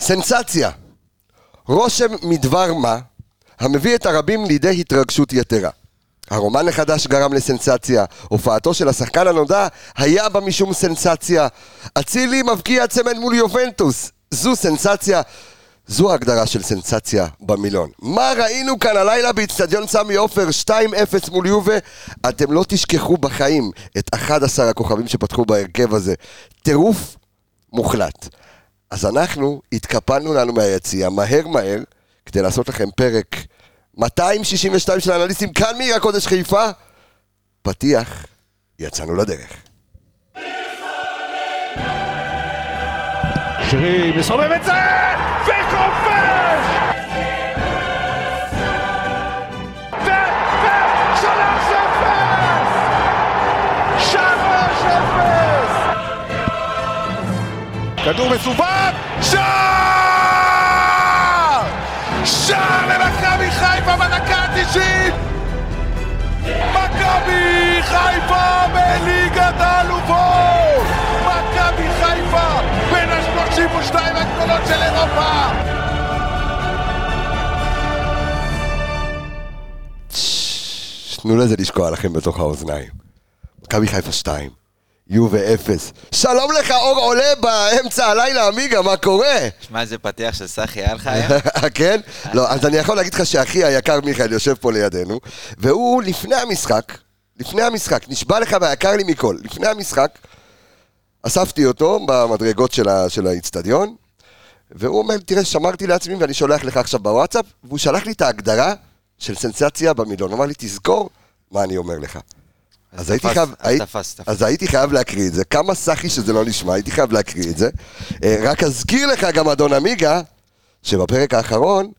סנסציה. רושם מדבר מה, המביא את הרבים לידי התרגשות יתרה. הרומן החדש גרם לסנסציה, הופעתו של השחקן הנודע היה בה משום סנסציה. אצילי מבקיע צמד מול יובנטוס, זו סנסציה. זו ההגדרה של סנסציה במילון. מה ראינו כאן הלילה באיצטדיון סמי עופר 2-0 מול יובה? אתם לא תשכחו בחיים את 11 הכוכבים שפתחו בהרכב הזה. טירוף מוחלט. אז אנחנו התקפלנו לנו מהיציע מהר מהר כדי לעשות לכם פרק 262 של האנליסטים כאן מעיר הקודש חיפה. פתיח, יצאנו לדרך. שירי מסובב את זה, וכובש! ו- ו- שלוש אפס! שלוש אפס! כדור מסובב, שער! שער למכבי חיפה בדקה ה-90! מכבי חיפה בליגת האלופות! מכבי חיפה בין ה-32 הגדולות של אירופה! תנו לזה לשקוע לכם בתוך האוזניים. מכבי חיפה 2, יובה 0. שלום לך, אור עולה באמצע הלילה, עמיגה, מה קורה? שמע, איזה פתיח של סחי היה לך היום? כן? לא, אז אני יכול להגיד לך שאחי היקר מיכאל יושב פה לידינו, והוא לפני המשחק, לפני המשחק, נשבע לך והיקר לי מכל, לפני המשחק, אספתי אותו במדרגות של ה- של האיצטדיון, והוא אומר, תראה, שמרתי לעצמי ואני שולח לך עכשיו בוואטסאפ, והוא שלח לי את ההגדרה של סנסציה במילון. הוא אמר לי, תזכור מה אני אומר לך. אז הייתי תפס, חייב, אז הי- תפס, תפס. אז הייתי חייב להקריא את זה, כמה סחי שזה לא נשמע, הייתי חייב להקריא את זה. אה, רק אזכיר לך גם, אדון עמיגה, שבפרק האחרון,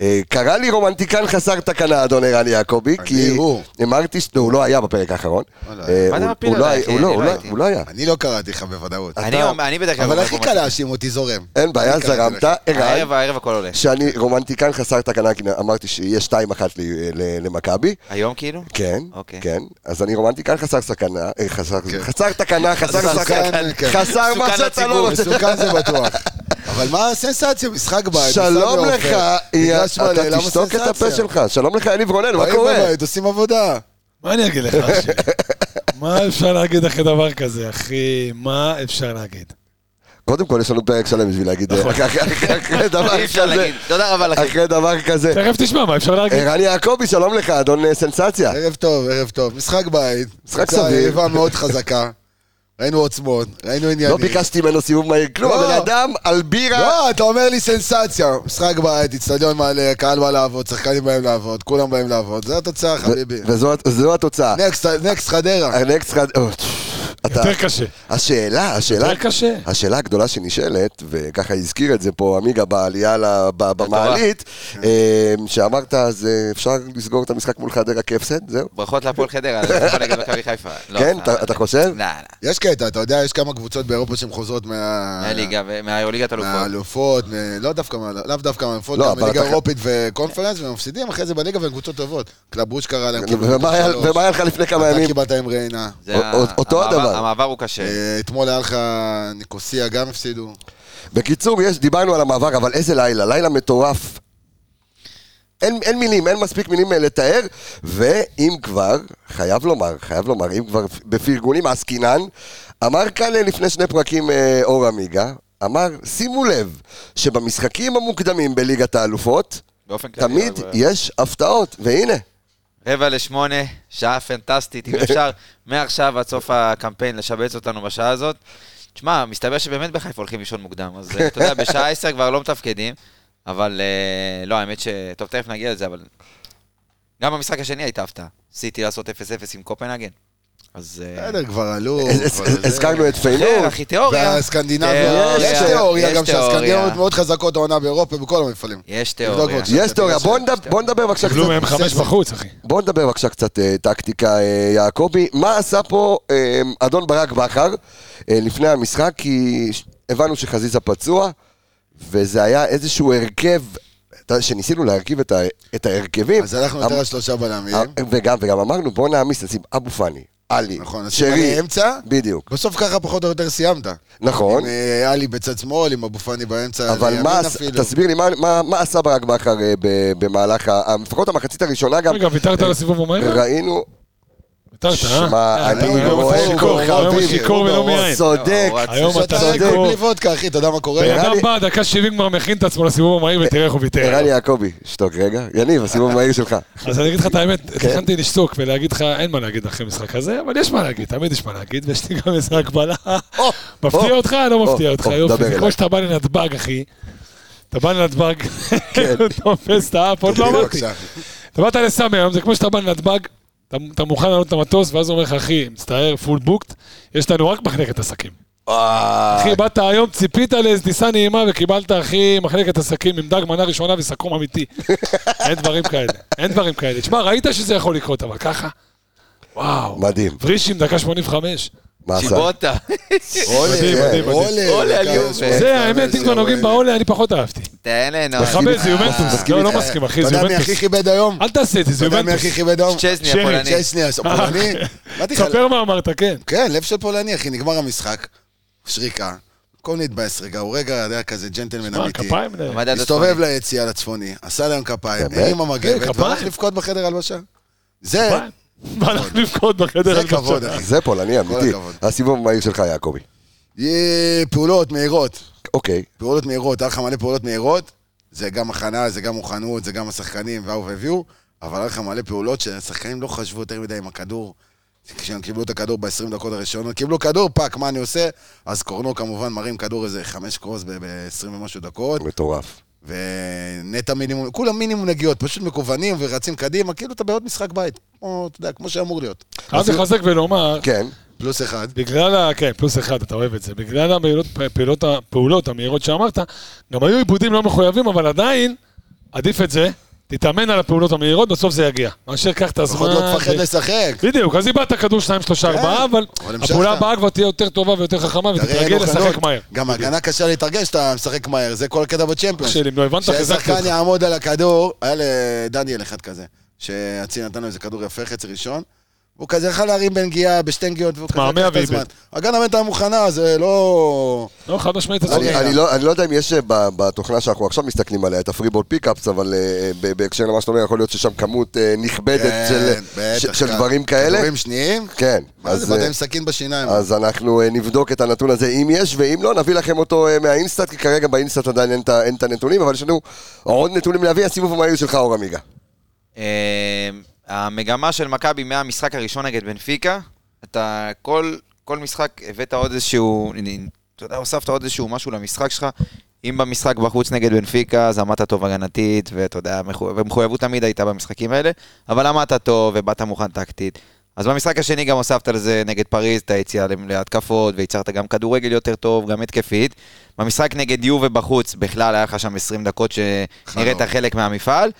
אה, קרא לי רומנטיקן חסר תקנה, אדון ערן יעקבי, כי הוא. אמרתי, ש- לא, הוא לא היה בפרק האחרון. וואלה. אה, מה אתה הוא- מפיל הוא לא עליי, היה- אחי? הוא לא- אני הוא לא לא- הייתי. הוא לא היה. אני לא קראתי לך בוודאות. אני אומר- אני בדרך כלל... אבל אומר הכי כמו קל מה- להאשים אותי זורם. אין בעיה, אני קראתי זרמת, לך. לא, ערן. הערב, הערב הכל עולה. שאני רומנטיקן חסר תקנה, כי אמרתי שיהיה 2-1 ל- אה, ל- למכבי. היום כאילו? כן, אוקיי. כן. אז אני רומנטיקן חסר סכנה, אה, חסר- כן. חסר תקנה, חסר חסר סכנה, סכנה, כן. חסר מה מסוכן שאתה לא לציבור, רוצה. מסוכן זה בטוח. אבל מה הסנסציה? משחק בית. שלום לך, אייל- אתה אתה תשתוק את הפה שלך, שלום לך יניב רונן, מה קורה? באים בבית, עושים עבודה. מה אני אגיד לך, אחי? מה אפשר להגיד אחרי דבר כזה, אחי? מה אפשר להגיד? קודם כל יש לנו פרק שלם בשביל להגיד, אה, נכון. אחרי- אחרי אחרי אי דבר אפשר כזה, להגיד. תודה רבה לכם. אחרי דבר כזה. תכף תשמע, מה אפשר להגיד? ערן יעקבי, שלום לך, אדון אה, סנסציה. ערב טוב, ערב טוב. משחק בית. משחק קבוצה סביר. יריבה מאוד חזקה. ראינו עוצמות, ראינו עניינים. לא ביקשתי ממנו סיבוב מהיר כלום, לא. הבן אדם על בירה. לא, אתה אומר לי סנסציה. משחק בית, אצטדיון מלא, קהל בא לעבוד, שחקנים באים לעבוד, כולם באים לעבוד. זה התוצאה, חביבי. וזו התוצאה. נקסט, נקסט חדרה. הנקסט חד... אה, אתה... יותר קשה. השאלה, השאלה... יותר קשה. השאלה הגדולה שנשאלת, וככה הזכיר את זה פה עמיגה בעלייה ל- ב- במעלית, כן. אה, שאמרת, אז אה, אפשר לסגור את המשחק מול חדרה כהפסד? זהו? ברכות להפועל חדרה, על הניצחון נגד מכבי חיפה. לא, כן? אה, אתה- אתה חושב? לא, לא. יש קטע, אתה יודע, יש כמה קבוצות באירופה שהן חוזרות מה... אה. מהליגה, ו- מהליגת אלופות. מהאלופות, מ- לא דווקא, מה- לאו דווקא מהאלופות, לא, גם אבל בליגה אתה- אירופית וקונפרנס, והם מפסידים אחרי זה בליגה והם קבוצות טובות. קלבוש קרא להם, קיבלו ומה היה- שלוש. ומה היה לך לפני כמה אתה ימים? קיבלת עם ריינה. זה ה- א- אותו המעבר- הדבר. המעבר הוא קשה. אה, אתמול היה לך ניקוסיה, גם הפסידו. בקיצור, יש, דיברנו על המעבר, אבל איזה לילה, לילה מטורף. אין, אין מילים, אין מספיק מילים אה, לתאר, ואם כבר, חייב לומר, חייב לומר, אם כבר בפרגונים עסקינן, אמר כאן אה, לפני שני פרקים אה, אור עמיגה, אמר, שימו לב, שבמשחקים המוקדמים בליגת האלופות, באופן כללי. תמיד אבל- יש הפתעות, והנה, רבע לשמונה, שעה פנטסטית, אם אפשר, מעכשיו עד סוף הקמפיין לשבץ אותנו בשעה הזאת. תשמע, מסתבר שבאמת בחיפה הולכים לישון מוקדם, אז אה, אתה יודע, בשעה עשר כבר לא מתפקדים, אבל אה, לא, האמת ש... טוב, תכף נגיע לזה, אבל... גם במשחק השני הייתה הפתעה. סיטי לעשות 0-0 עם קופנהגן. אז... אה, בסדר, כבר עלו. הז- הז- כבר זה. כן. הזכרנו את אחר, פיינור, אחי, תיאוריה. והסקנדינביה, תיאוריה, יש תיאוריה גם יש תיאוריה. שהסקנדינביות מאוד חזקות העונה באירופה, בכל המפעלים. יש תבדוק תיאוריה. בבקשה. יש תיאוריה, בוא נדב- בוא נדבר בבקשה קצת. קיבלו מהם חמש בחוץ, אחי. בואו נדבר בבקשה קצת אה, טקטיקה, אה, יעקבי. מה עשה פה אה, אדון ברק בכר אה, לפני המשחק? כי ש- הבנו שחזיזה פצוע, וזה היה איזשהו הרכב, אתה יודע, שניסינו להרכיב את, ה, את ההרכבים. אז הלכנו יותר אמ- על שלושה בלמים. אה, וגם, וגם אמרנו, בואו נעמיס, נשים אבו פאני, עלי. נכון, אז שרי. שרי אמצע. בדיוק. בסוף ככה פחות או יותר סיימת. נכון. עם אה, עלי בצד שמאל, עם אבו פאני באמצע, אבל לימין מה, עש- אפילו. תסביר לי, מה- מה- מה עשה ברק בכר אה, ב- במהלך, ה- לפחות המחצית הראשונה גם, רגע, ויתרת על הסיבוב המהיר? ראינו, ויתרת, אה? שמע, אה, אני אתה אומר, רואה היום אתה כוכבים. שיכור, היום אתה שיכור ולא הוא מיין. צודק, לא, הוא רץ. היום אתה אתה צודק. גול בלי וודקה, אחי, אתה יודע מה קורה? בן נראה אדם לי- בא, דקה 70 כבר מכין את עצמו לסיבוב המהיר, ותראה איך הוא כן. ויתר. ערן יעקבי, שתוק רגע, יניב, הסיבוב המהיר שלך. אה. אז אני אגיד לך את האמת, כן. תכנתי לשתוק ולהגיד לך, אין מה להגיד אחרי משחק כזה, אבל יש מה להגיד, תמיד יש מה להגיד, ויש לי גם משחק בלה. או, מפתיע או, אותך? לא או, מפתיע אותך, או, דבר יופי. זה אליי. כמו שאתה בא לנתב"ג, אחי. אתה בא לנתב"ג, כן. הוא תופס את האף, עוד לא אמרתי. בבקשה. אתה באת לסמי היום, זה כמו שאתה בא לנתב"ג, אתה- אתה מוכן לעלות את המטוס, ואז הוא אומר לך, אחי, מצטער, פול בוקט, יש לנו רק מחלקת עסקים. אה, אחי, באת היום, ציפית לאיזו טיסה נעימה וקיבלת, אחי, מחלקת עסקים עם דג מנה ראשונה וסכום אמיתי. אין דברים כאלה, אין דברים כאלה. תשמע, ראית שזה יכול לקרות, אבל ככה? וואו. מדהים, ורישים, דקה 85. מה עשה? שיבוטה. מדהים, כן, מדהים, מדהים. עולה, עולה, עליו. זה אה, האמת, אם כבר נוגעים בעולה, אני פחות אהבתי. תן לנו. מכבד, זה יומנטוס. מסכים לא, איתך. לא מסכים, אחי, אתה זה יודע מי הכי יומנטוס. כיבד היום? אל תעשה את זה, זה אתה יודע מי הכי יומנטוס. כיבד היום? צ'זני שרי, הפולני. צ'סני, הפולני. באתי לך- ספר מה אמרת, כן. כן, לב של פולני, אחי, נגמר המשחק. שריקה. במקום להתבאס רגע, הוא רגע, אתה יודע, כזה ג'נטלמן מה, אמיתי. כפיים? ל- עמד עד הסתובב הצפוני. ליציאה לצפוני, עשה להם כפיים, באמת? הרים כן, המגבת, כפיים. והלך לבכות בחדר הלבשה. זה, כפיים. מה, אנחנו לבכות בחדר? זה הלבשה? כבוד, אחי. זה פולני אמיתי, הכבוד. הסיבוב המהיר שלך, יעקבי. יהיה פעולות מהירות. אוקיי, פעולות מהירות, היה לך מלא פעולות מהירות, זה גם הכנה, זה גם מוכנות, זה גם השחקנים, והאו והביאו, אבל היה לך מלא פעולות שהשחקנים לא חשבו יותר מדי עם הכדור. כשהם קיבלו את הכדור ב-20 דקות הראשונות, קיבלו כדור, פאק, מה אני עושה? אז קורנו כמובן מרים כדור איזה חמש קרוס ב-20 ומשהו דקות, מטורף. ונטע מינימום, כולם מינימום נגיעות, פשוט מכוונים ורצים קדימה, כאילו אתה בעוד משחק בית, כמו, אתה יודע, כמו שאמור להיות. חייב לחזק ולומר, כן, פלוס אחד. בגלל ה... כן, פלוס אחד, אתה אוהב את זה. בגלל הפעילות, פעילות, הפעולות המהירות שאמרת, גם היו עיבודים לא מחויבים, אבל עדיין, עדיף את זה, תתאמן על הפעולות המהירות, בסוף זה יגיע. מאשר קח את הזמן. לפחות לא תפחד ו- לשחק. בדיוק, אז איבדת כדור שניים, שלושה, כן, ארבעה, אבל אבל המשכת. הפעולה הבאה כבר תהיה יותר טובה ויותר חכמה, ותתרגל תראה, מוכנות. לשחק מהר. גם הגנה קשה להתרגש שאתה משחק מהר, זה כל הקטע בצ'מפיונס. אח שלי, אם לא הבנת, חיזקתי שהשחקן אותך. יעמוד על הכדור, היה לדניאל אחד כזה, שהצי נתן לו איזה כדור יפה, חצי ראשון, והוא כזה יכל להרים בנגיעה, בשתי נגיעות, והוא כזה התמהמה לקח את ואיבד. הזמן. הגנה באמת הייתה מוכנה, זה לא... לא, חד משמעית, אתה אני צודק. אני לא אני לא יודע אם יש אה, ב- בתוכנה שאנחנו עכשיו מסתכלים עליה את הפריבול פיקאפס, אבל אה, ב- בהקשר למה שאתה אומר, יכול להיות ששם כמות אה, נכבדת של- כן, בטח, של- של כן. דברים כאלה. כדורים שניים? כן, מה זה, אז... באת אה, עם סכין בשיניים. אז אנחנו אה, נבדוק את הנתון הזה, אם יש, ואם לא, נביא לכם אותו אה, מהאינסטאט, כי כרגע באינסטאט עדיין אין את ה- אין את הנתונים, אבל יש לנו עוד נתונים להביא, הסיבוב המהיר שלך, אור עמיגה. אה, המגמה של מכבי מהמשחק הראשון נגד בנפיקה, אתה כל, כל משחק הבאת עוד איזשהו, אתה יודע, הוספת עוד איזשהו משהו למשחק שלך. אם במשחק בחוץ נגד בנפיקה, אז עמדת טוב הגנתית, ואתה יודע, מחו- ומחויבות תמיד הייתה במשחקים האלה, אבל עמדת טוב ובאת מוכן טקטית. אז במשחק השני גם הוספת לזה נגד פריז את היציאה להתקפות, והצהרת גם כדורגל יותר טוב, גם התקפית. במשחק נגד יו ובחוץ, בכלל היה לך שם 20 דקות שנראית חלום. חלק מהמפעל,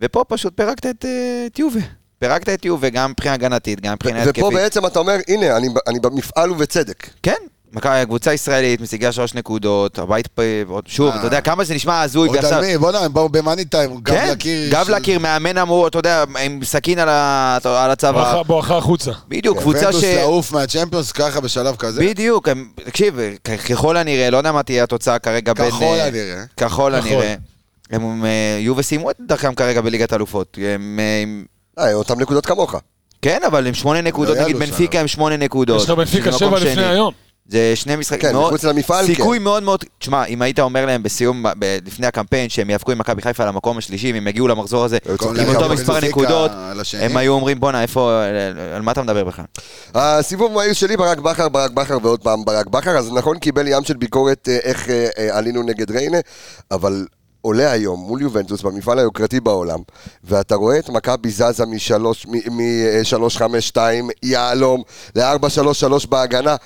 ופה פשוט פירקת את, אה, את יובה. פירקת את יובה גם מבחינה הגנתית, גם מבחינה התקפית. ופה בעצם אתה אומר, הנה, אני ב- אני במפעל ובצדק. כן, מכבי, קבוצה ישראלית, משיגה שלוש נקודות, הבית פה, עוד- שוב, אה. אתה יודע כמה זה נשמע הזוי, עוד על מי, בוא'נה, הם באו במאני טיים, גב כן, לקיר. גב של- לקיר, מאמן אמור, אתה יודע, עם סכין על ה- על הצוואר. בואכה- בואכה החוצה. בדיוק, קבוצה ש... ונטוס לעוף מהצ'מפיונס ככה בשלב כזה. בדיוק, הם- תקשיב, כ- ככל הנראה, לא יודע מה תהיה התוצאה כרגע בין... ככל אה, הנראה. ככל נכון. הנראה. הם אה, יהיו וסיימו את דרכם כרגע בליגת אלופות. הם, אה, עם- אה, אותם נקודות כמוך. כן, אבל הם שמונה נקודות, היה נגיד לו שם, בנפיקה הם שמונה לא, נקודות. יש לך בנפיקה שזה מקום שבע לפני שני. היום. זה שני משחקים. כן, מאוד- מחוץ למפעל, סיכוי מאוד מאוד... תשמע, אם היית אומר להם בסיום, ב- לפני הקמפיין, שהם יאבקו עם מכבי חיפה על המקום השלישי, אם הם יגיעו למחזור הזה היו צוחקים עם גם אותו על מספר בנפיקה נקודות, על השני. הם היו אומרים, בואנה, איפה... על מה אתה מדבר בכלל? הסיבוב מהיר שלי, ברק בכר, ברק בכר ועוד פעם ברק בכר, אז נכון קיבל ים של ביקורת אה, איך אה, אה, עלינו נגד ריינה, אבל עולה היום מול יובנטוס במפעל היוקרתי בעולם, ואתה רואה את מכבי זזה אה, מ-352 יהלום ל-433 בהגנה.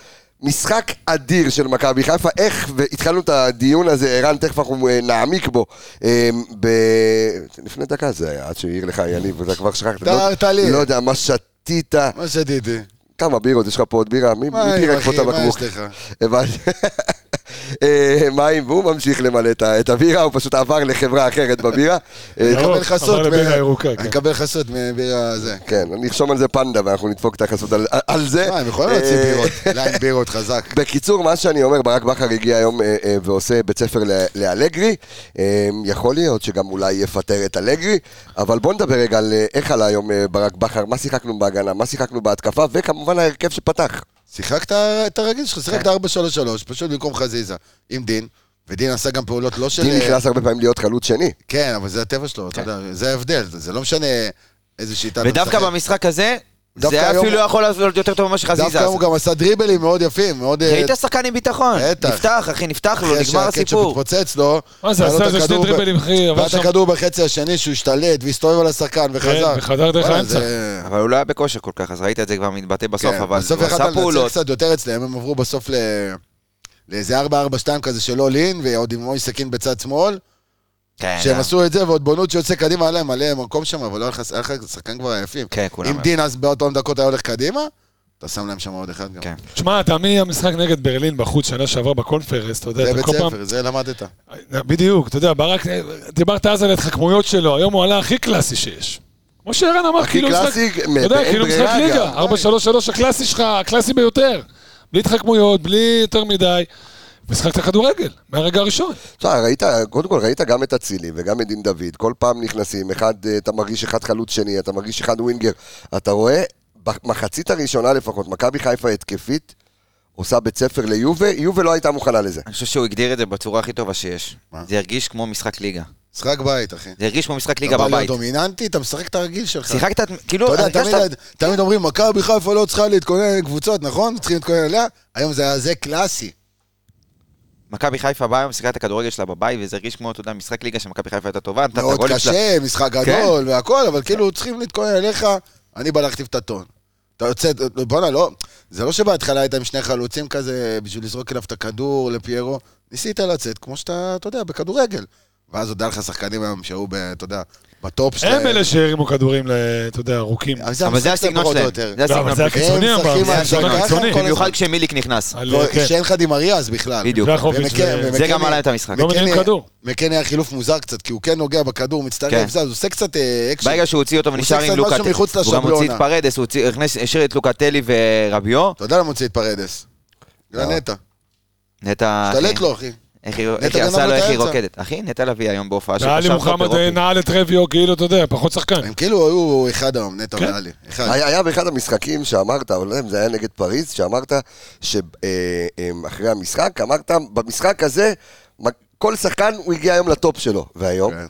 משחק אדיר של מכבי חיפה, איך, והתחלנו את הדיון הזה, ערן, תכף אנחנו אה, נעמיק בו. אה, ב... לפני דקה זה היה, עד שהעיר לך יניב, אתה כבר שכחת. לא- תארת לי. לא יודע, מה שתית. מה שתיתי. כמה בירות, יש לך פה עוד בירה? מי מי מה, פירק אחי, פה את מה הבקבוק? יש לך? הבנתי. אה, מים, והוא ממשיך למלא את ה- את הבירה, הוא פשוט עבר לחברה אחרת בבירה. אה, ירוק, מקבל חסות. עבר מ- לבירה ירוקה, כן. אני מקבל חסות מבירה זה. כן, נרשום על זה פנדה ואנחנו נדפוק את החסות על- על זה. מה, הם יכולים להוציא אה, בירות. ליין בירות חזק. בקיצור, מה שאני אומר, ברק בכר הגיע היום אה, אה, ועושה בית ספר ל- לאלגרי. אה, יכול להיות שגם אולי יפטר את אלגרי, אבל בוא נדבר רגע על אה, איך עלה היום אה, ברק בכר, מה שיחקנו בהגנה, מה שיחקנו בהתקפה, וכמובן ההרכב שפתח. שיחקת את הרגיל שלך, שיחקת 4-3-3, פשוט במקום חזיזה, עם דין, ודין עשה גם פעולות לא של... דין נכנס הרבה פעמים להיות חלוץ שני. כן, אבל זה הטבע שלו, אתה יודע, זה ההבדל, זה לא משנה איזה שיטה אתה ודווקא במשחק הזה, דווקא זה היה היום- אפילו יכול להיות יותר טוב ממה שחזיזה דווקא עשה. הוא גם עשה דריבלים מאוד יפים, מאוד... אה, ראית שחקן עם ביטחון? בטח. נפתח, אחי, נפתח לו, אחרי נגמר שהקטשופ הסיפור. התפוצץ לו. מה זה, היה לו עשה את איזה שני הכדור לא, ב- דריבלים, אחי, עבר בעט שם- הכדור בחצי השני שהוא השתלט והסתובב על השחקן וחזר. וחדר דרך וואלה, האמצע. זה- אבל הוא לא היה בכושר כל כך, אז ראית את זה כבר מתבטא בסוף, כן, אבל בסוף הוא עשה יכלת לנצח פעולות. קצת יותר אצלם, הם עברו בסוף ל... לאיזה 4-4-2 כזה של אולין, ועוד עם מוי סכין בצד שמאל, כן, שהם אה. עשו את זה, ועוד בונות שיוצא קדימה, היה להם מלא מקום שם, אבל לא היה לך- היה לך שחקן כבר יפים. כן, כולם. אם דין אז באותן דקות היה הולך קדימה, אתה שם להם שם עוד אחד גם. כן. תשמע, אתה מהמשחק נגד ברלין בחוץ שנה שעבר בקונפרנס, אתה יודע, זה אתה בית כל פעם... ספר, זה למדת. בדיוק, אתה יודע, ברק, דיברת אז על ההתחכמויות שלו, היום הוא עלה הכי קלאסי שיש. כמו שערן אמר, הכי כאילו משחק, קלאסי, אתה יודע, באין כאילו משחק ברירה ליגה, גם. 4-3-3 הקלאסי שלך, הקלאסי ביותר. בלי התחכמויות, בלי יותר מדי. משחק את הכדורגל, מהרגע הראשון. תשמע, ראית, קודם כל ראית גם את אצילי וגם את דין דוד, כל פעם נכנסים, אחד, אה, אתה מרגיש אחד חלוץ שני, אתה מרגיש אחד ווינגר. אתה רואה, במחצית הראשונה לפחות, מכבי חיפה התקפית, עושה בית ספר ליובה, יובה לא הייתה מוכנה לזה. אני חושב שהוא הגדיר את זה בצורה הכי טובה שיש. מה? זה הרגיש כמו משחק ליגה. משחק בית, אחי. זה הרגיש כמו משחק אתה ליגה בא להיות בבית. דומיננטי, אתה משחק את הרגיל שלך. שיחקת, כאילו, לא, אתה יודע, הרגשת- תמיד- תמיד אומרים, מכבי חיפה לא צריכה להתכונן לקבוצות, נכון? צריכים להתכונן אליה? היום זה היה זה קלאסי. מכבי חיפה באה היום, שיחקה את הכדורגל שלה בבית, וזה הרגיש כמו, אתה יודע, משחק ליגה שמכבי חיפה הייתה טובה, נתת את מאוד הגולים שלה. קשה, משחק כן. גדול והכל, אבל כאילו צריכים להתכונן אליך, אני בא להכתיב את הטון. אתה יוצא, בואנה, לא, זה לא שבהתחלה היית עם שני חלוצים כזה, בשביל לזרוק אליו את הכדור לפיירו, ניסית לצאת כמו שאתה, אתה יודע, בכדורגל. ואז עוד היה לך שחקנים היום שהיו, ב- אתה יודע, בטופ שלהם. הם אלה שהרימו כדורים, ל- אתה יודע, ארוכים. אבל זה המשחק הסגנון פחות או שלהם. יותר. זה לא, אבל הסגנון. זה שלהם. הקיצוני הם הפעם, משחקים זה על המשחק השחקן, הקיצוני. כל הזמן. במיוחד כשמיליק נכנס. על, לא, כן, שאין לך דמריה אז בכלל. בדיוק. שחוביץ' ומקן- ו- ומקני- זה גם עלה את המשחק. לא מניעים מקני- כדור. מקני היה חילוף מוזר קצת, כי הוא כן נוגע בכדור, כן. מצטרף, זה, אז הוא עושה קצת אה, אקשן. ברגע שהוא הוציא אותו הוא ונשאר עושה עם קצת משהו לוקטלי. מחוץ אה. הוא גם הוציא לשבלונה. את פרדס, הוא הוציא- הכנס- השאיר את לוקטלי ורביו. אתה יודע למה הוא הוציא את פרדס? לא. בגלל נטע. נטע... השתלט אחי, לו, אחי. איך היא- נטע איך היא גנב לו עשה את לו איך היא האמצע. רוקדת. אחי, נטע לביא היום בהופעה של ועלי קשר מוחמד טוב אה, אירופי. נעל את רביו, כאילו, אתה יודע, פחות שחקן. הם כאילו היו אחד היום, נטע כן. ואלי. אחד. היה, היה באחד המשחקים שאמרת, או לא יודע אם זה היה נגד פריז, שאמרת שאחרי המשחק, אמרת, במשחק הזה, מ- כל שחקן, הוא הגיע היום לטופ שלו. והיום? כן.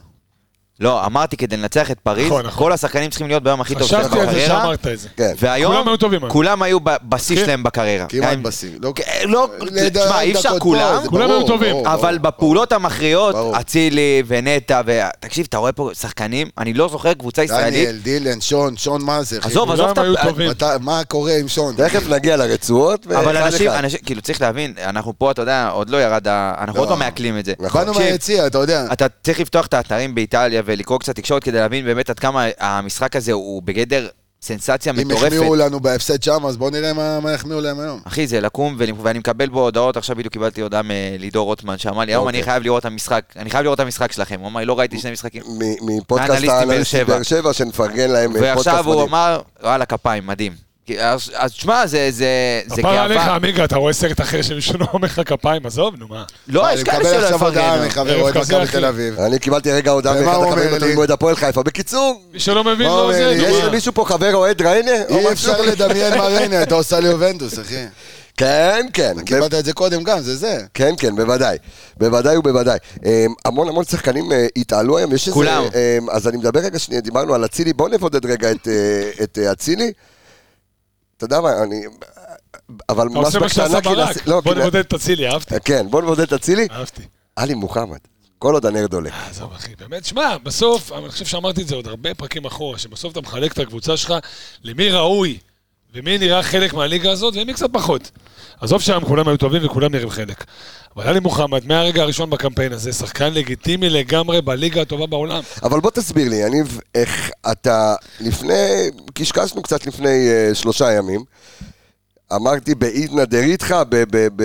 לא, אמרתי כדי לנצח את פריז, נכון, נכון. כל השחקנים צריכים להיות ביום הכי טוב שלהם חשבתי על זה בקריירה. שאמרת את זה. כן. והיום, כולם היו טובים, אה. כולם היו ב- בשיא כן. שלהם בקריירה. כמעט גם- בשיא. לא- כן, לא, לדע- תשמע, אי אפשר דקות כולם, פה, זה כולם ברור, היו טובים. ברור, אבל ברור. בפעולות המכריעות, ברור. אצילי ונטע, ו- תקשיב, אתה רואה פה שחקנים, אני לא זוכר קבוצה ישראלית. דניאל, דילן, שון, שון מה זה, אחי? עזוב, כולם עזוב את היו ה- טובים. מתי- מה קורה עם שון? תכף נגיע לרצועות, אבל אה, ואחד אנשים, אחד. אנשים, כאילו, צריך להבין, אנחנו פה, אתה יודע, עוד לא ירד, ה- אנחנו לא. עוד לא מעכלים את זה. נכון. באנו תקשיב, מהיציע, אתה יודע. אתה צריך לפתוח את האתרים באיטליה ולקרוא קצת תקשורת כדי להבין באמת עד כמה המשחק הזה הוא בגדר סנסציה אם החמיאו מטורפת. לנו בהפסד שם, אז בואו נראה מה- מה יחמיאו להם היום. אחי, זה לקום, ול- ואני מקבל בו הודעות, עכשיו בדיוק קיבלתי הודעה מלידור רוטמן, שאמר לי, היום אני אוקיי. חייב לראות את המשחק, אני חייב לראות את המשחק שלכם. הוא אמר, לא ראיתי שני משחקים. מ- מפודקאסט האנליסטים באר האנליסטים שבע. באר שבע, שנפרגן להם אה, ועכשיו פודקאסט הוא מדהים. אמר, וואלה, כפיים, מדהים. כי- אז אז שמע, זה- זה זה כפרה עליך, גאווה. עמיגה, אתה רואה סרט אחר שמישהו לא אומר לך כפיים, עזוב, נו מה. לא, יש אני כאלה מקבל שלא עכשיו הודעה יפרגנו. מחבר אוהד כזה, מכבי אה, אחי. תל אביב. אני קיבלתי הרגע הודעה ומה מאחד הוא אומר החברים בטוח לי? מועד הפועל חיפה. בקיצור, אה, מי שלא מבין, מה לא אומר זה, לי? יש נו מה. למישהו פה חבר אוהד ריינה? או אי משהו? אפשר לא. לדמיין מה ריינה, אתה עושה לי יובנטוס, אחי. כן, כן. קיבלת את זה קודם גם, זה זה. כן, כן, בוודאי. בוודאי ובוודאי. אמ, המון המון שחקנים אה, התעלו היום, יש איזה... כולם. אמ, אז אני מדבר רגע שנייה, דיברנו על אצילי, בואו נבודד רגע את, אה, את אה, אצילי. אתה יודע מה, אני... אבל אתה עושה מה שעשה ברק. לא, בוא כי- נבודד את אצילי, אהבתי, כן, בוא נבודד את אצילי. אהבתי. עלי מוחמד, כל עוד הנר דולק. עזוב אחי, באמת, שמע, בסוף, אני חושב שאמרתי את זה עוד הרבה פרקים אחורה, שבסוף אתה מחלק את הקבוצה שלך למי ראוי, ומי נראה חלק מהליגה הזאת, ומי קצת פחות. עזוב שם, כולם היו טובים וכולם נראים חלק. אבל עלי מוחמד, מהרגע הראשון בקמפיין הזה, שחקן לגיטימי לגמרי בליגה הטובה בעולם. אבל בוא תסביר לי, יניב, איך אתה לפני, קשקשנו קצת לפני אה, שלושה ימים, אמרתי בעידנא דריתחא, ב- ב- ב-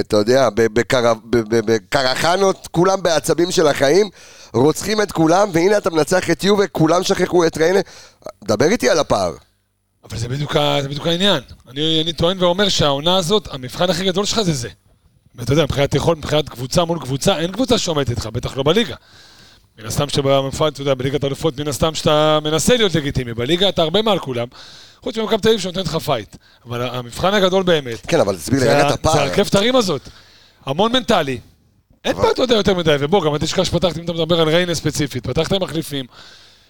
אתה יודע, ב- בקר- ב- ב- בקרחנות, כולם בעצבים של החיים, רוצחים את כולם, והנה אתה מנצח את יובה, כולם שכחו את ריינה. דבר איתי על הפער. אבל זה בדיוק, ה- זה בדיוק העניין. אני, אני טוען ואומר שהעונה הזאת, המבחן הכי גדול שלך זה זה. ואתה יודע, מבחינת יכולת, מבחינת קבוצה מול קבוצה, אין קבוצה שעומדת איתך, בטח לא בליגה. מן הסתם שבמפעל, אתה יודע, בליגת האלופות, מן הסתם שאתה מנסה להיות לגיטימי. בליגה אתה הרבה מעל כולם, חוץ ממכבי תל אביב שנותנת לך פייט. אבל ה- המבחן הגדול באמת, כן, אבל תסביר לי זה רגע את ה- זה הפער. הרכב תרים הזאת. המון מנטלי. אין פה, אתה יודע, יותר מדי, ובוא, גם אל תשכח שפתחת, אם אתה מדבר על ריינה ספציפית, פתחת עם מחליפים,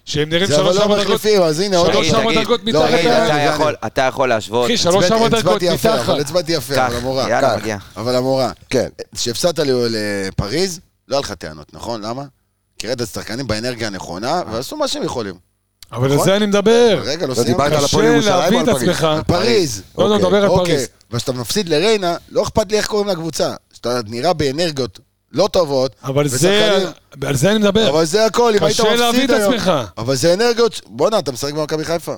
שהם נראים זה אבל שלוש לא ארבע דקות מחליפים, אז הנה עוד... שלוש תגיד, ארבע תגיד, דקות לא, מתחת תגיד, ל- אתה יכול- אתה יכול להשוות. אחי, שלוש ארבע הצבעתי- דקות הצבעתי יפה, מתחת. אבל הצבעתי יפה, קח, אבל המורה. יאללה, קח. מגיע. אבל המורה, כן. כשהפסדת ל- לפריז, לא היה לך טענות, נכון? למה? כי ראית את השחקנים באנרגיה הנכונה, ועשו מה שהם יכולים. אבל על נכון? זה אני מדבר. רגע, לא לא סיימת? דיברת על הפועל קשה ירושלים להביא או את על פריז? עצמך. פריז. לא, לא, אוקיי, מדבר על אוקיי, פריז. וכשאתה מפסיד לריינה, לא אכפת לי איך קוראים לקבוצה. שאתה נראה באנרגיות לא טובות. אבל זה, ושחקנים- על זה אני מדבר. אבל זה הכל, אם היית כן. קשה להביא מפסיד את היום. עצמך. אבל זה אנרגיות... ש- בואנה, אתה משחק במכבי חיפה.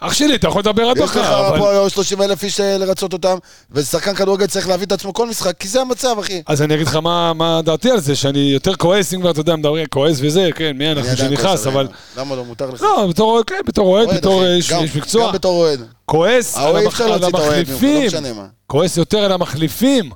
אח שלי, אתה יכול לדבר עד יש לך מחר. אבל- פה 30 אלף איש אה, לרצות אותם, ושחקן כדורגל צריך להביא את עצמו כל משחק, כי זה המצב, אחי. אז אני אגיד לך מה מה דעתי על זה, שאני יותר כועס, אם כבר אתה יודע, מדברים, כועס וזה, כן, מי אני אנחנו עדיין שנכנס, כועס אבל... עליהם. למה לא מותר לך? לא, בתור כן, בתור אוהד, אוהד, בתור אחי, אה, איש גם- איש מקצוע, גם בתור אוהד. כועס על האוהד המח- אפשר על להוציא את האוהד, ממך, לא המחליפים. משנה מה. כועס יותר על המחליפים.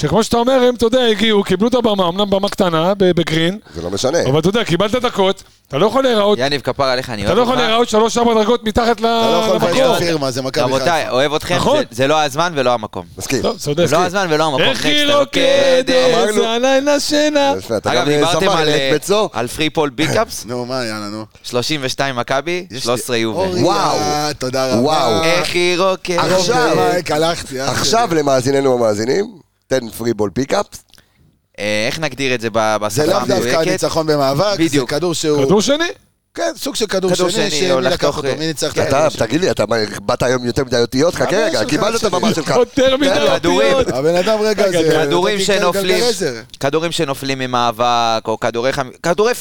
שכמו שאתה אומר, הם, אתה יודע, הגיעו, קיבלו את הבמה, אמנם במה קטנה, ב- בגרין, זה לא משנה. כן. אבל אתה יודע, קיבלת דקות, אתה לא יכול להיראות, יניב, כפר עליך, אני אתה אוהב לא יכול אותך. להיראות שלוש-ארבע דרגות מתחת ל- אתה לא יכול לבייש את אה, למקום. הפירמה, זה מכבי רבותיי, חיפה. אוהב אתכם, נכון. זה- זה לא הזמן ולא המקום. מסכים. טוב, צודק. זה לא הזמן ולא המקום. איך Next, היא לא רוקדת, אוקיי. אמרנו. הלילה שינה. יפה, אתה אגב, גם דיברתם זמר על, אה, לעת בצור. על פרי פול ביקאפס? נו, מה, יאללה, נו. 32 מכבי, יש לי- אה, 13 יובל. אוריה, וואו. אה, תודה רבה. אה, וואו. איך היא רוקדת? עכשיו. מייק, הלכתי. הלכתי. עכשיו למאזיננו המאזינים, תן פרי בול פיקאפ. אה, איך נגדיר את זה ב- זה בשפה לאו דווקא המדויקת? ניצחון במאבק, זה בדיוק. כדור שהוא... כדור שני? כן, סוג של כדור כדור שני, שני, אה, שמי או לקח לחתוך, אותו, מי ניצח כן, את אתה, הכדור שני. תגיד לי, אתה מה, באת היום יותר מדי אותיות? חכה הבעיה רגע, שלך, קיבלת את שלי. הבמה שלך. יותר מדי כדורים. אותיות. הבן אדם רגע, רגע, זה... כדורים נתתי כאן שנופלים, גלגלעזר. כדורים שנופלים ממאבק, או כדורי חמ... כדורי 50-50.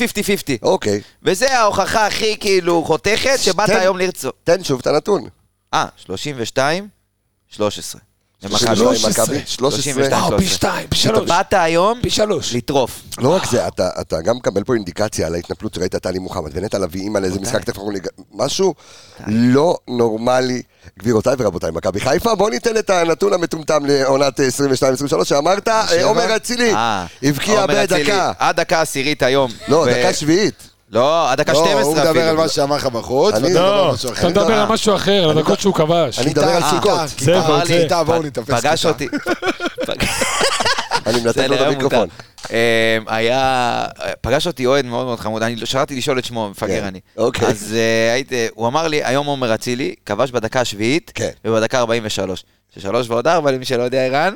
אוקיי, וזה ההוכחה הכי כאילו חותכת, שבאת שתיים. היום לרצות. תן שוב את הנתון. אה, 32, 13. למכבי. 32, 13. מכבי, 13. 32. אה, פי שתיים, פי שלוש. באת היום פי שלוש. לטרוף. לא רק זה, אתה, אתה גם מקבל פה אינדיקציה על ההתנפלות שראית את טלי מוחמד ונטע לביא, אימא לאיזה משחק תכף אנחנו ניגע... משהו לא נורמלי. גבירותיי ורבותיי, מכבי חיפה, בואו ניתן את הנתון המטומטם לעונת 22-23 שאמרת, אה, עומר אצילי, אה, הבקיע עומר אצילי, בדקה. עד דקה עשירית היום. לא, ו- דקה שביעית. לא, עד דקה לא, 12 אפילו. הוא מדבר על מה שאמר לך בחוץ, אני- ואתה מדבר על לא, משהו אחר. אתה מדבר על משהו אחר, על הדקות שהוא כבש. אני לא- מדבר על אה, סוכות. אה, זה, כיתה, זה. כיתה, בואו פ- נתפס פגש כיתה. אותי. אני מנתק לו את כן. בסדר, המיקרופון. מותר. אמ, היה, פגש אותי אוהד מאוד מאוד חמוד, אני שרתי לשאול את שמו, כן, מפגר אני. אוקיי. אז אה, הייתי- הוא אמר לי, היום עומר אצילי כבש בדקה השביעית, כן. ובדקה 43. ששלוש ועוד ארבע, למי שלא יודע, ערן,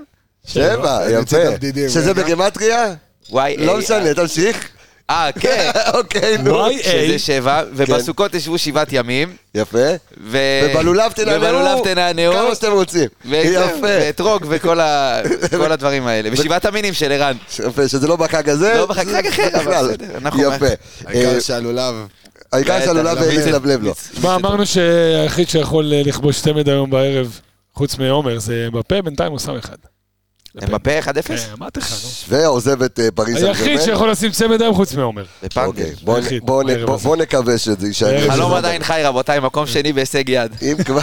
שבע, אני אצל יפה. הבדידים, שזה רגע. בגימטריה? וואי, לא איי, משנה, תמשיך. אה, כן, אוקיי, נו. וואי, איי. שזה שבע, כן. ובסוכות ישבו שבעת ימים, יפה. ו... ובלולב תנענעו. ובלולב תנענעו. כמה שאתם רוצים. וזהו, יפה. כן, ואתרוג וכל ה- כל הדברים האלה. ושבעת המינים של ערן. יפה, שזה לא בחג הזה. לא בחג, זה- חג אחר, אבל בכלל. בסדר, אנחנו- יפה. העיקר אה, שהלולב... העיקר לא. שהלולב לבלב אה, לו. תשמע, אמרנו שהיחיד שיכול אה, לכבוש צמד היום בערב, חוץ מעומר, זה בפה, בינתיים הוא שם אחד. הם בפה 1-0? כן. אה, אמרתי לך, נו. ועוזב את אה, פריז. היחיד סן-ג'רמן. שיכול לשים צמד היום חוץ מעומר. בפנגל. אוקיי, בואו נ- היחיד, בואו נ- בערב בואו- הזה. בואו נקווה שזה יישאר. בערב חלום שזה- עדיין חי, רבותיי, מקום שני בהישג יד. אם כבר...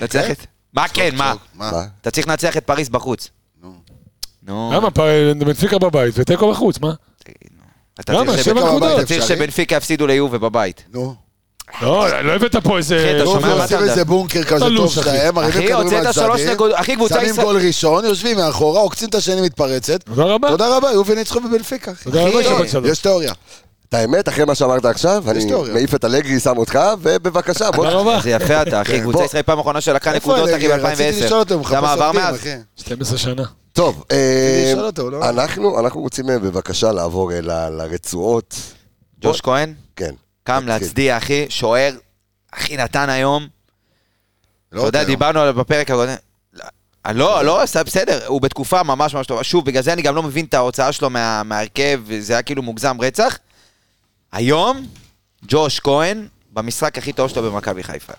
נצליח אה? את... מה כן, מה? מה? אתה צריך לנצח את פריז בחוץ. נו. נו. למה? פ- בנפיקה בבית ותיקו בחוץ, מה? תגיד, נו. אתה למה? צריך שבע שבנפיקה נקודות. אתה צריך אפשרי? שבנפיקה יפסידו ליובה בבית. נו. לא, לא הבאת פה איזה... אחי, אתה טוב, שומע מה לא, עושים אתה- איזה בונקר כזה טוב תלוש, אחי. שלהם, אה, מרימים אחי, כדורים הוצאת על שלוש צדדים, נקודות, אחי, קבוצה שמים ישראל- גול ראשון, יושבים מאחורה, עוקצים את השני מתפרצת. תודה רבה. תודה רבה, יובי ניצחו בבנפיקה. אחי. תודה רבה אחי, שבת שלום. יש תיאוריה. את האמת, אחרי מה שאמרת עכשיו, אני תיאוריה. מעיף את אלגרי, שם אותך, ובבקשה, בוא... תודה רבה. זה יפה אתה, אחי, בוא. קבוצה ישראל פעם אחרונה שלקחה כן, איפה נקודות, אחי, אלגיה? רציתי לשאול אותו, הוא ב-2010. מחפש אתה מעבר עובדים, מאז? אחי. 12 שנה. טוב, אה, לשאול אותו, הוא לא- אנחנו אנחנו רוצים אה, בבקשה לעבור אה, ל- לרצועות. ג'וש כהן, כן. קם נתחיל. להצדיע, אחי, שוער, אחי, נתן היום. לא אתה יודע, יודע. דיברנו עליו בפרק הקודם. לא, לא, לא, עשה בסדר, הוא בתקופה ממש ממש טובה. שוב, בגלל זה אני גם לא מבין את ההוצאה שלו מה- מההרכב, זה היה כאילו מוגזם רצח. היום, ג'וש כהן, במשחק הכי טוב שלו במכבי חיפה.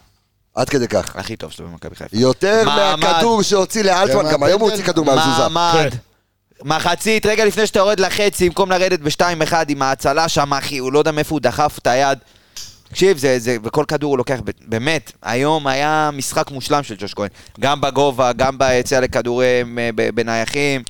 עד כדי כך. הכי טוב שלו במכבי חיפה. יותר מעמד. מהכדור שהוציא לאלטמן, גם היום הוא הוציא כדור מהמזוזה. מעמד. כן. מחצית, רגע לפני שאתה יורד לחצי, במקום לרדת ב-2-1 עם ההצלה שם, אחי, הוא לא יודע מאיפה הוא דחף את היד. תקשיב, זה, זה, וכל כדור הוא לוקח, ב- באמת, היום היה משחק מושלם של ג'וש כהן. גם בגובה, גם ביציאה לכדורים אה, ב- בנייחים.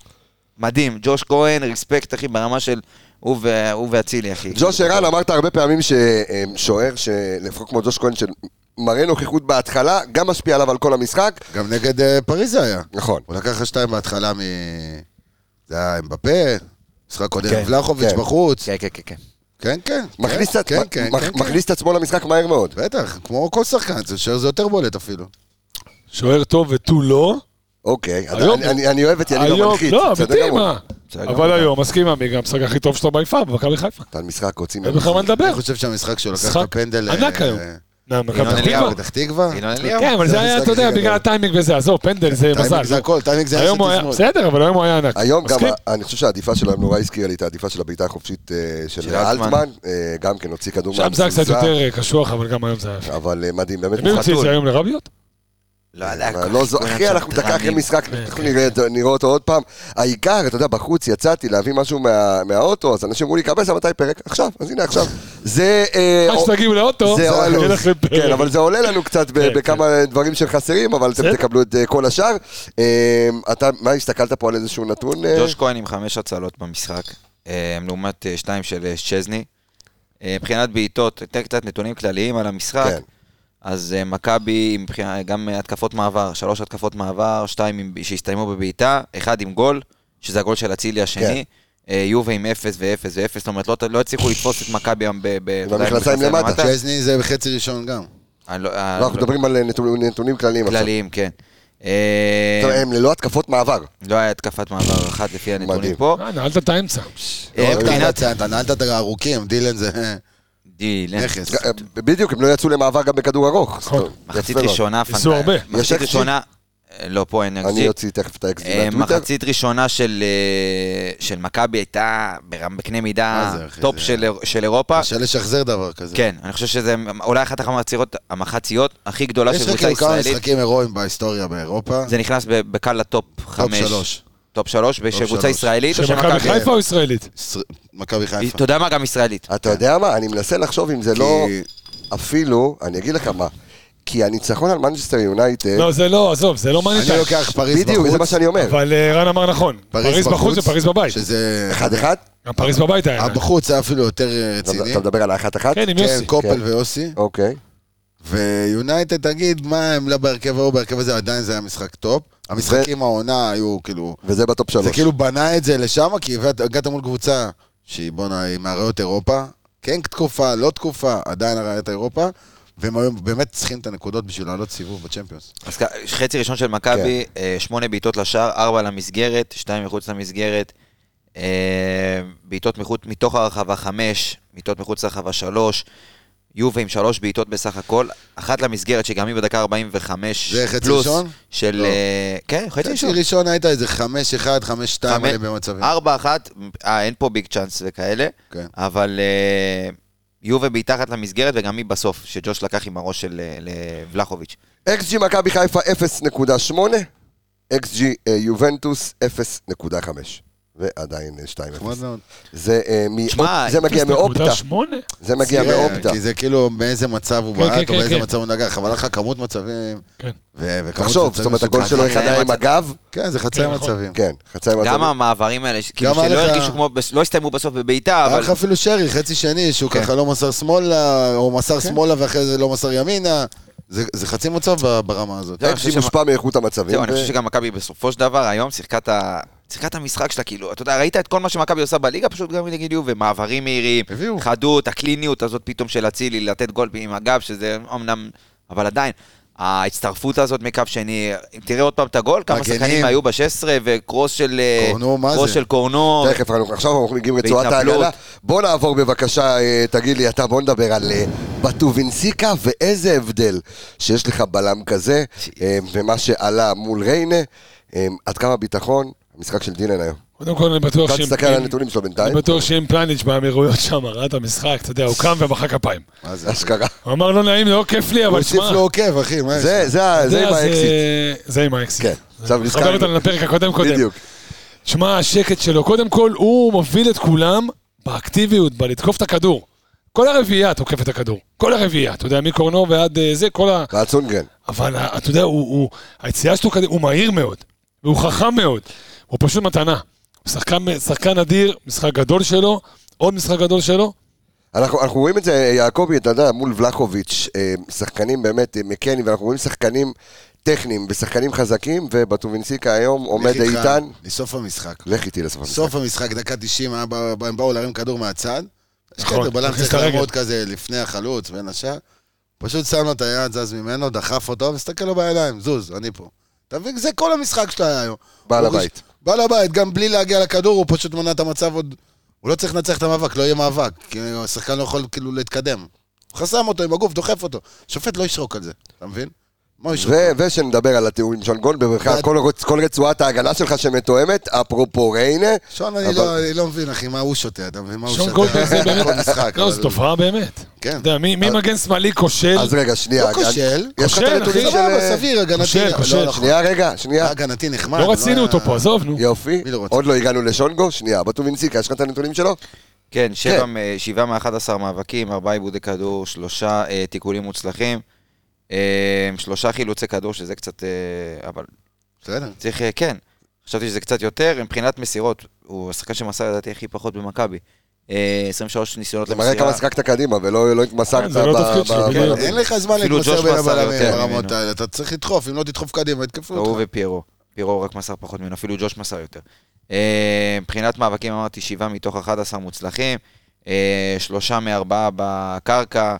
מדהים, ג'וש כהן, רספקט, אחי, ברמה של הוא ו- הוא ואצילי, אחי. ג'וש ערן, אמרת הרבה פעמים אמ, ששוער, שלפחות כמו ג'וש כהן, שמראה נוכחות בהתחלה, גם משפיע עליו על כל המשחק. גם נגד אה, פריז זה היה. נכון. הוא לקח לך שתיים בהתחלה מ... זה היה אמבפה, משחק כן, קודם, ולחוביץ' כן. בחוץ. כן, כן, כן, כן. כן, כן. מכניס כן, את- כן, כן, מכ- כן, כן. מכניס את עצמו למשחק מהר מאוד. בטח, כמו כל שחקן, זה שוער זה יותר בולט אפילו. שוער טוב ותו לא. אוקיי, אז היום- אני- אני- אני אוהב את יניב היום- המנחית. לא, בסדר אמיתי, גמור. מה? בסדר גמור. אבל היום, מסכים עמי, גם המשחק הכי טוב שלו ביפה, במכבי חיפה. נתן משחק, רוצים... אין בכלל מה לדבר. אני חושב שהמשחק שהוא לקח את משחק הפנדל... ענק אה, היום. נה, מכבי ינון פתח אליהו. תקווה. פתח תקווה. ינון אליהו. כן, אבל זה לא זה היה, המשחק אתה יודע, הכי בגלל גדול. הטיימינג וזה, עזוב, פנדל זה טיימינג מזל. זה הכל, טיימינג זה היום הוא היה, השתזמון. בסדר, אבל היום הוא היה ענק. היום גם, מסכים? ה- אני חושב שהעדיפה שלהם נורא הזכירה לי את העדיפה של הבעיטה החופשית אה, של של אלטמן. אלטמן, אה, גם כן הוציא כדור שם זה היה קצת יותר אה, קשוח, אבל גם היום זה היה... יפה. אבל אה, מדהים, באמת מי הוא הוציא את חתול. זה היום לרביות? לא יודע, אבל לא זו- אחי, אנחנו דקה אחרי משחק, כן, אנחנו נראה את- נראה אותו עוד פעם. העיקר, אתה יודע, בחוץ יצאתי להביא משהו מה- מהאוטו, אז אנשים אמרו לי, קבל שם מתי פרק? עכשיו, אז הנה עכשיו. זה... אה, עד שתגיעו לאוטו, זה זה הלו"ז. ילך לפרק. כן, אבל זה עולה לנו קצת ב- כן, בכמה דברים שחסרים, אבל אתם בסדר. תקבלו את אה, כל השאר. אה, אתה, מה, הסתכלת פה על איזשהו נתון? אה? ג'וש כהן עם חמש הצלות במשחק, אה, לעומת אה, שתיים של אה, שזני. אה, מבחינת בעיטות, אתן קצת נתונים כלליים על המשחק. כן. אז אה, מכבי, עם מבחינה- גם אה, התקפות מעבר, שלוש התקפות מעבר, שתיים עם- שהסתיימו בבעיטה, אחד עם גול, שזה הגול של אצילי השני. כן. אה, יובה עם אפס ואפס ואפס, זאת אומרת, לא ת- לא הצליחו לתפוס את מכבי היום ב- ב- אתה יודע, במכנסיים למטה. צ'זני זה בחצי ראשון גם. אני לא- אה, לא, אנחנו מדברים על אה, נתונים- נתונים כלליים עכשיו. כלליים, כן. אה, טוב, הם ללא התקפות מעבר. לא היה התקפת מעבר אחת לפי הנתונים מדהים. פה. אה, נעלת את האמצע. אה, לא רק מבחינת... נעלת, אתה נעלת את הארוכים, דילן זה דילן. נכס. בדיוק, הם לא יצאו למעבר גם בכדור ארוך. נכון. טוב, מחצית יפה מאוד. ראשונה, ניסו פנטה- הרבה. יש מחצית אקזיט? ראשונה, אה, לא, פה אין אני אקזיט. אוציא תכף את האקזיט אה, מהטוויטר. מחצית ראשונה של אה, של מכבי הייתה ברמ- בקנה מידה מה זה, אחי, טופ זה- של איר- של אירופה. קשה לשחזר דבר כזה. אה. כן, אני חושב שזה אולי אחת המחצירות- המחציות הכי גדולה לא של יש לך קבוצה כאילו כמה ישראלית. משחקים הירואיים בהיסטוריה באירופה. זה נכנס ב- בקל לטופ חמש. שלוש. טופ שלוש, של קבוצה שלוש. ישראלית או של שמכבי מכבי? חיפה או ישראלית? ס- מכבי היא- חיפה. אתה יודע מה? גם ישראלית. אתה יודע מה, אני מנסה לחשוב אם זה כי- לא... אפילו, אני אגיד לך מה, כי הניצחון על מנצ'סטר יונייטד... לא, זה לא, עזוב, זה לא מעניין. אני לוקח פריז בחוץ. בדיוק, זה מה שאני אומר. אבל אה, רן אמר נכון, פריז בחוץ ופריז בבית. שזה... אה, אחד אחד? גם פריז בבית היה. הבחוץ היה אפילו יותר אה, אתה רציני. אתה מדבר על האחת אחת? כן, עם יוסי. כן, כן. קופל ויוסי. אוקיי. ויונייטד, תגיד, מה הם לא בהרכב ההוא, בהרכב הזה עדיין זה היה משחק טופ. המשחקים העונה היו כאילו... וזה בטופ זה שלוש. כאילו בנה את זה לשם, כי הבאת- הגעת מול קבוצה שהיא, בואנה, היא מאריות אירופה. כן תקופה, לא תקופה, עדיין הראיית אירופה. והם היו באמת צריכים את הנקודות בשביל לעלות סיבוב בצ'מפיונס. אז כ- חצי ראשון של מכבי, כן. אה, שמונה בעיטות לשער, ארבע למסגרת, שתיים מחוץ למסגרת, אה, בעיטות מחוץ- מתוך הרחבה חמש, בעיטות מחוץ לרחבה שלוש, יובה עם שלוש בעיטות בסך הכל, אחת למסגרת שגם היא בדקה 45 זה חצי פלוס, ראשון? של... לא. אה, כן, חצי חצי ראשון. ראשון הייתה איזה 5-1, 5-2 חמש- עליהם במצבים. ארבע אחת, אה, אין פה ביג צ'אנס וכאלה, כן. אבל אה, יובה בעיטה אחת למסגרת וגם היא בסוף, שג'וש לקח עם הראש של אה, לבלחוביץ'. XG מכבי חיפה 0.8, XG אה, יובנטוס 0.5. ועדיין אה, 2-0. נחמד מאוד. זה, אה, מ- שמע, זה מגיע מאופטה, נקודה שמונה? זה מגיע כן, מאופטה. כי זה כאילו מאיזה מצב הוא כן, כן, בעט, או כן, באיזה כן. מצב הוא נגח, אבל לך כמות מצבים. כן. ו- וכמות תחשוב, מצבים זאת אומרת, הגול מסוכנים. שלו אחד היה עם מצב- הגב, כן, זה חצי כן, נכון. מצבים. כן, חצי מצבים. גם המעברים האלה, ש- כאילו אוקיי. גם שלא היה לך- הרגישו כמו, בס- לא הסתיימו בסוף בבעיטה, היה אבל לך אפילו שרי, חצי שני, שהוא כן. ככה לא מסר שמאלה, או מסר שמאלה ואחרי זה לא מסר ימינה. זה זה חצי מצב ב- ברמה הזאת. זהו, אני חושב XG שמ- מושפע מאיכות המצבים. זהו, אני ו- חושב שגם מכבי בסופו של דבר היום שיחקה את ה- שיחקה את המשחק שלה, כאילו, אתה יודע, ראית את כל מה שמכבי עושה בליגה, פשוט גם נגיד יובה, מעברים מהירים, הביאו. חדות, הקליניות הזאת פתאום של אצילי, לתת גול עם הגב, שזה אמנם, אבל עדיין, ההצטרפות הזאת מקו שני, אם תראה עוד פעם את הגול, כמה מגנים. שחקנים היו ב-16, וקרוס של אה, קורנו, מה קרוס זה? של קורנו, תכף, אנחנו- עכשיו אנחנו מגיעים לרצועת בהתנפלות. ההגנה. בוא נעבור בבקשה, אה, תגיד לי אתה, בוא נדבר על אה, בטובינסיקה, ואיזה הבדל שיש לך בלם כזה, אה, ומה שעלה מול ריינה, אה, עד כמה ביטחון, המשחק של דילן היום. קודם כל אני בטוח אתה שאם... תסתכל על הנתונים שלו אני בינתיים. לא, אה, בטוח שאם פלניץ' באמירויות שם ראה את המשחק, אתה יודע, הוא קם ומחא כפיים. מה זה? אשכרה. הוא אמר, לא נעים, לא כיף לי, הוא אבל הוסיף שמע... לו עוקב, אחי, אה, מה יש? זה, זה ה- אתה זה יודע, עם האקסיט. זה עם האקסיט. כן, עכשיו אה, חבר נזכרנו. אותנו לפרק הקודם קודם. בדיוק. שמע, השקט שלו, קודם כל, הוא מוביל את כולם באקטיביות, בלתקוף את הכדור. כל הרביעייה תוקפת את הכדור. כל הרביעייה, אתה יודע, מקורנו ועד אה, זה, כל ה... ועד סונגרן. אבל אה, אתה יודע, הוא, הוא, היציאה שלו קדימה, הוא מהיר מאוד, והוא חכם מאוד, הוא פשוט מתנה. הוא שחקן, שחקן אדיר, משחק גדול שלו, עוד משחק גדול שלו. אנחנו, אנחנו רואים את זה, אה, יעקבי, אתה יודע, מול ולחוביץ', אה, שחקנים באמת, אה, מקני, ואנחנו רואים שחקנים טכניים ושחקנים חזקים, ובטובינסיקה היום עומד לך איתך, איתן. לא, לסוף המשחק. לך איתי לסוף המשחק. סוף המשחק, דקה 90, היה בא- בא- הם באו להרים כדור מהצד. נכון, שקטר בלם מכניס צריך את הרגל. לעמוד כזה לפני החלוץ, בין השאר. פשוט שם לו את היד, זז ממנו, דחף אותו, מסתכל לו בעיניים, זוז, אני פה. אתה מבין? זה כל המשחק שלו היה היום. בעל הוא- הבית. בעל הבית, גם בלי להגיע לכדור, הוא פשוט מנע את המצב עוד... הוא לא צריך לנצח את המאבק, לא יהיה מאבק. כי השחקן לא יכול כאילו להתקדם. הוא חסם אותו עם הגוף, דוחף אותו. שופט לא ישרוק על זה, אתה מבין? מה הוא ישרוק? ו- ושנדבר על התיאום עם שון גולדברג, בכלל, כל רצ- כל רצועת ההגנה שלך שמתואמת, אפרופו ריינה. שון, אבל- אני לא- אני לא מבין, אחי, מה הוא שותה, אתה מבין? מה הוא שון שותה? גולדברג זה באמת... כל משחק, לא, זו אבל- תופעה באמת. כן. אתה יודע, מי מי מגן שמאלי כושל? אז רגע, שנייה. לא כושל. יש לך את כושל, הנתונים אחי. של... אה, סבבה, סביר, הגנתי. כושל, לא, כושל. לא, נכון. שנייה, רגע, שנייה. הגנתי נחמד. לא רצינו אותו פה, עזוב, נו. יופי. מי לא רוצה? עוד לא הגענו לשונגו, שנייה. בטובינסיקה, יש לך את הנתונים שלו? כן, שבע מ- שבעה מ-11 מאבקים, ארבעה עיבודי כדור, שלושה אה, תיקולים מוצלחים, אה, שלושה חילוצי כדור, שזה קצת... אה, אבל בסדר. צריך, אה, כן. חשבתי שזה קצת יותר, מבחינת מסירות, הוא השחקן שמסר לדעתי הכי פחות במכבי. אה, 23 ניסיונות זה מראה למסירה. כמה שחקת קדימה ולא לא התמסרת. זה לא ב- התפקיד ב- שלו, ב- בדיוק. אין לך זמן אפילו להתמסר ג'וש בין מסר הבלמים יותר ברמות ממנו. האלה. אתה צריך לדחוף, אם לא תדחוף קדימה, יתקפו הוא אותך. ופיירו. פיירו רק מסר פחות ממנו, אפילו ג'וש מסר יותר. אה, מבחינת מאבקים אמרתי שבעה מתוך 11 מוצלחים, אה, שלושה מארבעה בקרקע,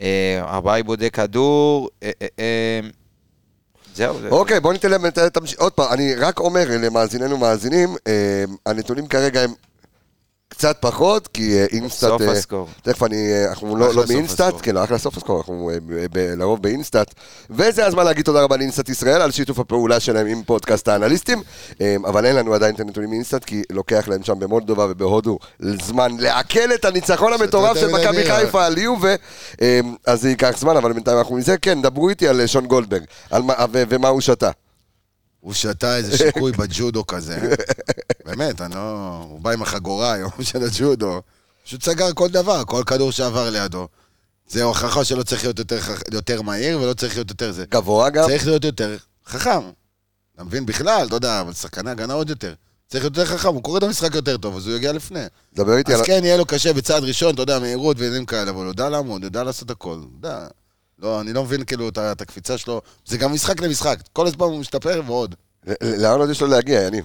אה, ארבעה עיבודי כדור, אה, אה, אה, זהו. זה- אוקיי, בוא ניתן להם, את- תמש- עוד פעם, אני רק אומר למאזיננו מאזינים, אה, הנתונים כרגע הם קצת פחות, כי אה, אינסטאט... סוף אה, הסקור. תכף אני, אה, אנחנו לא, אחלה לא סוף באינסטאט, הסקור. כן, אחלה סוף הסקור, אנחנו אה, ב- ב- לרוב באינסטאט. וזה הזמן להגיד תודה רבה לאינסטאט ישראל על שיתוף הפעולה שלהם עם פודקאסט האנליסטים, אה, אבל אין לנו עדיין את הנתונים מאינסטאט, כי לוקח להם שם במולדובה ובהודו זמן לעכל את הניצחון המטורף של יותר מדי מכבי מהיר, אבל. חיפה על יובה, אה, אז זה ייקח זמן, אבל בינתיים אנחנו מזה, כן, דברו איתי על אה, שון גולדברג, על מה- ו- ומה הוא שתה. הוא שתה איזה שיקוי בג'ודו כזה. באמת, אני לא... הוא בא עם החגורה היום של הג'ודו. פשוט סגר כל דבר, כל כדור שעבר לידו. זה הוכחה שלא צריך להיות יותר חכ- יותר מהיר ולא צריך להיות יותר זה. גבוה גם. צריך להיות יותר חכם. אתה מבין בכלל, אתה יודע, אבל שחקני הגנה עוד יותר. צריך להיות יותר חכם, הוא קורא את המשחק יותר טוב, אז הוא יגיע לפני. דבר איתי על... אז כן, יהיה לו קשה בצעד ראשון, אתה יודע, מהירות ועניינים כאלה, אבל הוא יודע לעמוד, הוא יודע לעשות הכל, הוא יודע. לא, אני לא מבין כאילו את ה- את הקפיצה שלו, זה גם משחק למשחק, כל הזמן הוא משתפר ועוד. ל- לאן עוד יש לו להגיע, יניב?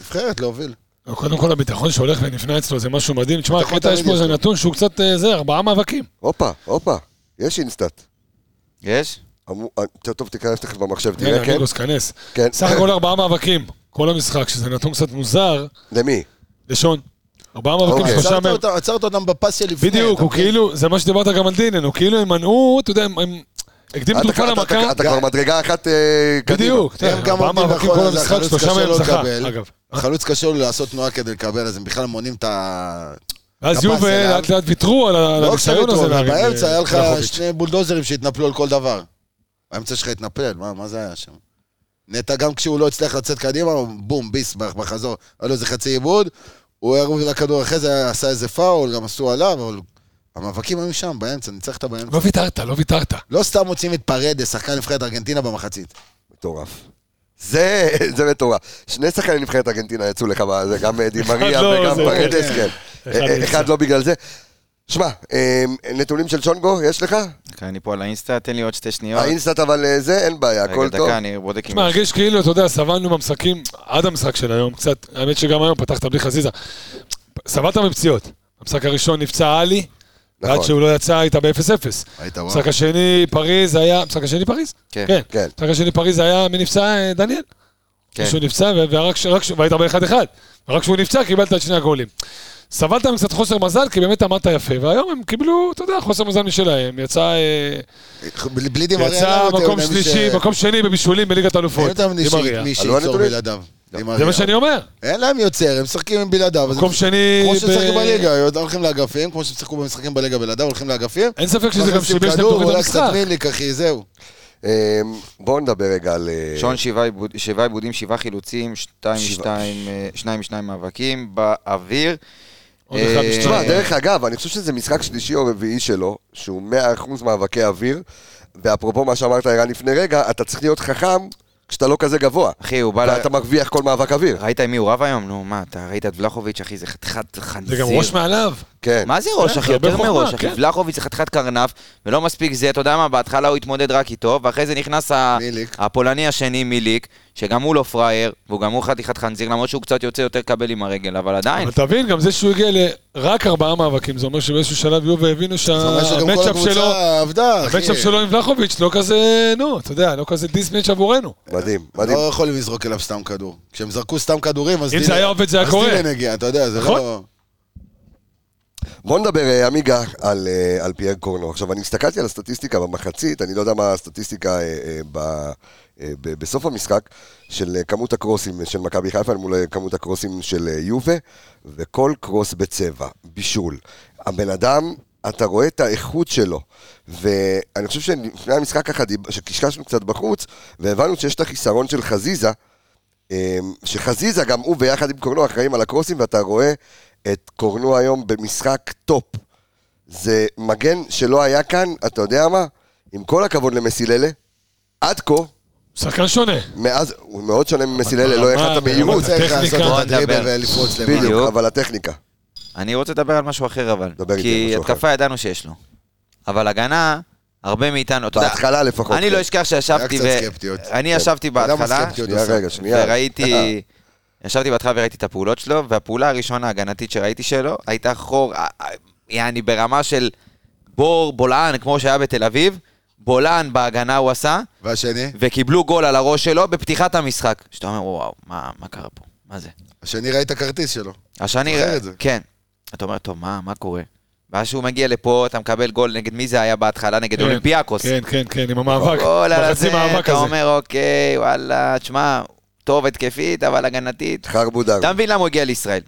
נבחרת להוביל. לא, קודם כל הביטחון שהולך ונפנה אצלו זה משהו מדהים. תשמע, ביטחון הקטע יש פה תמיד יש איזה לו. נתון שהוא קצת, אה, זה, ארבעה מאבקים. הופה, הופה, יש אינסטאט. יש? אמרו- אה, טוב, טוב, תיכנס תכף במחשב, הנה, תראה, כן? אמיגוס, כנס. כן. סך הכל ארבעה מאבקים, כל המשחק, שזה נתון קצת מוזר, למי? לשון. ארבעה מאבקים, אוקיי. שלושה עצרת מהם. אותם- עצרת אותם בפס שלפני. בדיוק, אתה הוא מבין? כאילו, זה מה שדיברת גם על דינן, הוא כאילו הם מנעו, אתה יודע, הם- הם הקדימו אתה- תרופה אתה- אתה- למכה. אתה כבר מדרגה אחת אה, קדימה. בדיוק, אתה יודע, הם גם ארבעה עומדים מאבקים נכון, כל אז המשחק, החלוץ שלושה קשה מהם לו זכה, לקבל. אגב. החלוץ קשה לו לעשות תנועה כדי לקבל, אז הם בכלל מונעים את ה... ואז הפס יובל אליו. לאט לאט ויתרו על ה- על לא הניסיון הזה. כשהביטרון, להרים, אה, באמצע היה לך ולחוביץ'. שני בולדוזרים שהתנפלו על כל דבר. האמצע שלך התנפל, מה, מה זה היה שם? נטע, גם כשהוא לא הצליח לצאת קדימה, הוא בום, ביס בח- בחזור. היה לו איזה חצי עיבוד, הוא ערוב לכדור אחרי זה, עשה איזה פאול, גם עשו עליו, אבל המאבקים היו שם, באמצע, ניצחת באמצע. לא ויתרת, לא ויתרת. לא סתם מוצאים את פרדס, שחקן נבחרת ארגנטינה במחצית. מטורף. זה, זה מטורף. שני שחקני נבחרת ארגנטינה יצאו לך, מה- זה גם אה, דימריה אחד לא, וגם זה- פרדס, כן. כן. אחד אה, אה, נפצע. אחד לא בגלל זה. שמע, אה, נתונים של שונגו, יש לך? אוקיי, אני פה על האינסטה, תן לי עוד שתי שניות. האינסטאט אבל אה, זה, אין בעיה, רגע, הכל טוב. דקה, אני בודק אם תשמע, יש. הרגיש כאילו, אתה יודע, סבלנו במשחקים עד המשחק של היום, קצת, האמת שגם היום פתחת בלי חזיזה. סבלת מפציעות. במשחק הראשון נפצע עלי, נכון. עד שהוא לא יצא הייתה ב-0-0. היית וואו. המשחק השני פריז היה, המשחק השני פריז? כן. כן. המשחק השני פריז היה, מי נפצע? אה, דניאל. כן. שהוא נפצע, ו- ורק, ש- רק, ש- והיית ב-1-1. ורק כשהוא נפצע קיבלת את שני הגולים. סבלת מקצת חוסר מזל, כי באמת עמדת יפה, והיום הם קיבלו, אתה יודע, חוסר מזל משלהם. יצא, אה, בלי- בלי דימריה, יצא לא, מקום תראה, שלישי, ש- מקום שני בבישולים בליגת האלופות. אין יותר מי ש- דימריה. מי עלו שייצור הנתונים? בלעדיו. עם לא זה אריאל. מה שאני אומר. אין להם יוצר, הם משחקים עם בלעדיו. אז מקום הם- שני... כמו ב- ששיחקו בליגה, הולכים לאגפים, כמו שהם שיחקו במשחקים בליגה בלעדיו, הולכים לאגפים. אין ספק שזה גם מכניסים שיבש להם כדור, תוכנית אולי המשחק. קצת מיליק, אחי, זהו. אה, בואו נדבר רגע על... אה, שון שבעה עיבוד- שבעה עיבודים, שבעה חילוצים, שתיים שבעה. משתיים, אה, שניים משניים מאבקים באוויר. עוד אחד אה, משתיים. תשמע, דרך אגב, אני חושב שזה משחק שלישי או רביעי שלו, שהוא 100% מאבקי אוויר, ואפרופו מה שאמרת, ערן, לפני רגע, אתה צריך להיות חכם כשאתה לא כזה גבוה, אחי, הוא בא... ל- ואתה מרוויח כל מאבק אוויר. ראית עם מי הוא רב היום? נו, מה, אתה ראית את ולחוביץ', אחי, זה חתיכת חנזיר. זה גם ראש מעליו. כן. מה זה ראש, כן, אחי? זה הרבה יותר חוכמה, מראש, אחי. כן. ולחוביץ' זה חתיכת קרנף, ולא מספיק זה, אתה יודע מה, בהתחלה הוא התמודד רק איתו, ואחרי זה נכנס ה- מיליק. הפולני השני, מיליק, שגם הוא לא פראייר, והוא גם הוא חתיכת חנזיר, למרות שהוא קצת יוצא יותר קבל עם הרגל, אבל עדיין. אבל תבין, גם זה שהוא הגיע לרק ארבעה מאבקים, זה אומר שבאיזשהו שלב יובה הבינו זאת אומרת שגם כל שהמצ'אפ אה, שלו... הקבוצה עבדה, אחי. המצ'אפ שלו עם ולחוביץ' לא כזה, נו, אתה יודע, לא כזה דיסמץ' עבורנו. מדהים, מדהים. לא יכולים לזרוק אליו סתם כדור. כשהם זרקו סתם כדורים, אז אם זה דילן- היה עובד, זה היה קורה. אז דילן הגיע, אתה יודע, זה נכון. לא... בוא נדבר, אה, עמיגה, על, אה, על פייר קורנו. עכשיו, אני הסתכלתי על הסטטיסטיקה במחצית, אני לא יודע מה הסטטיסטיקה אה, אה, ב, אה, ב, בסוף המשחק, של אה, כמות הקרוסים של מכבי חיפה אל מול אה, כמות הקרוסים של אה, יובה, וכל קרוס בצבע, בישול. הבן אדם, אתה רואה את האיכות שלו, ואני חושב שלפני המשחק ככה, דיב- שקשקשנו קצת בחוץ, והבנו שיש את החיסרון של חזיזה, אמ, שחזיזה, גם הוא ביחד עם קורנו אחראים על הקרוסים, ואתה רואה את קורנו היום במשחק טופ. זה מגן שלא היה כאן, אתה יודע מה? עם כל הכבוד למסיללה, עד כה, שחקן שונה. מאז, הוא מאוד שונה ממסיללה, אבל לא ברמה, יחד את המהירות, ברמת צריך הטכניקה. לעשות בוא את הדריבל נדבר. ולפרוץ למעלה. בדיוק, בדיוק. אבל הטכניקה. אני רוצה לדבר על משהו אחר, אבל. דבר איתי על כי משהו אחר. התקפה ידענו שיש לו. אבל הגנה, הרבה מאיתנו, אתה יודע... בהתחלה לפחות. אני לא אשכח שישבתי היה קצת סקפטיות. ו... אני כן. ישבתי אתה יודע מה בהתחלה, סקפטיות שנייה, עושה? רגע, שנייה. אה, אה. וראיתי... ישבתי בהתחלה וראיתי את הפעולות שלו, והפעולה הראשונה ההגנתית שראיתי שלו הייתה חור, אה, אה, יעני ברמה של בור, בולען, כמו שהיה בתל אביב. בולען בהגנה הוא עשה, והשני? וקיבלו גול על הראש שלו בפתיחת המשחק. שאתה אומר, וואו, מה, מה קרה פה? מה זה? השני ראית כרטיס שלו. השני... זוכר את זה. כן. אתה אומר, טוב, מה, מה קורה? ואז שהוא מגיע לפה, אתה מקבל גול נגד מי זה היה בהתחלה? נגד כן, אולימפיאקוס. כן, כן, כן, עם המאבק. גול על בחצי הזה, מאבק אתה הזה. אומר, אוקיי, וואלה, תשמע, טוב התקפית, אבל הגנתית. חרבודר. אתה מבין למה הוא הגיע לישראל.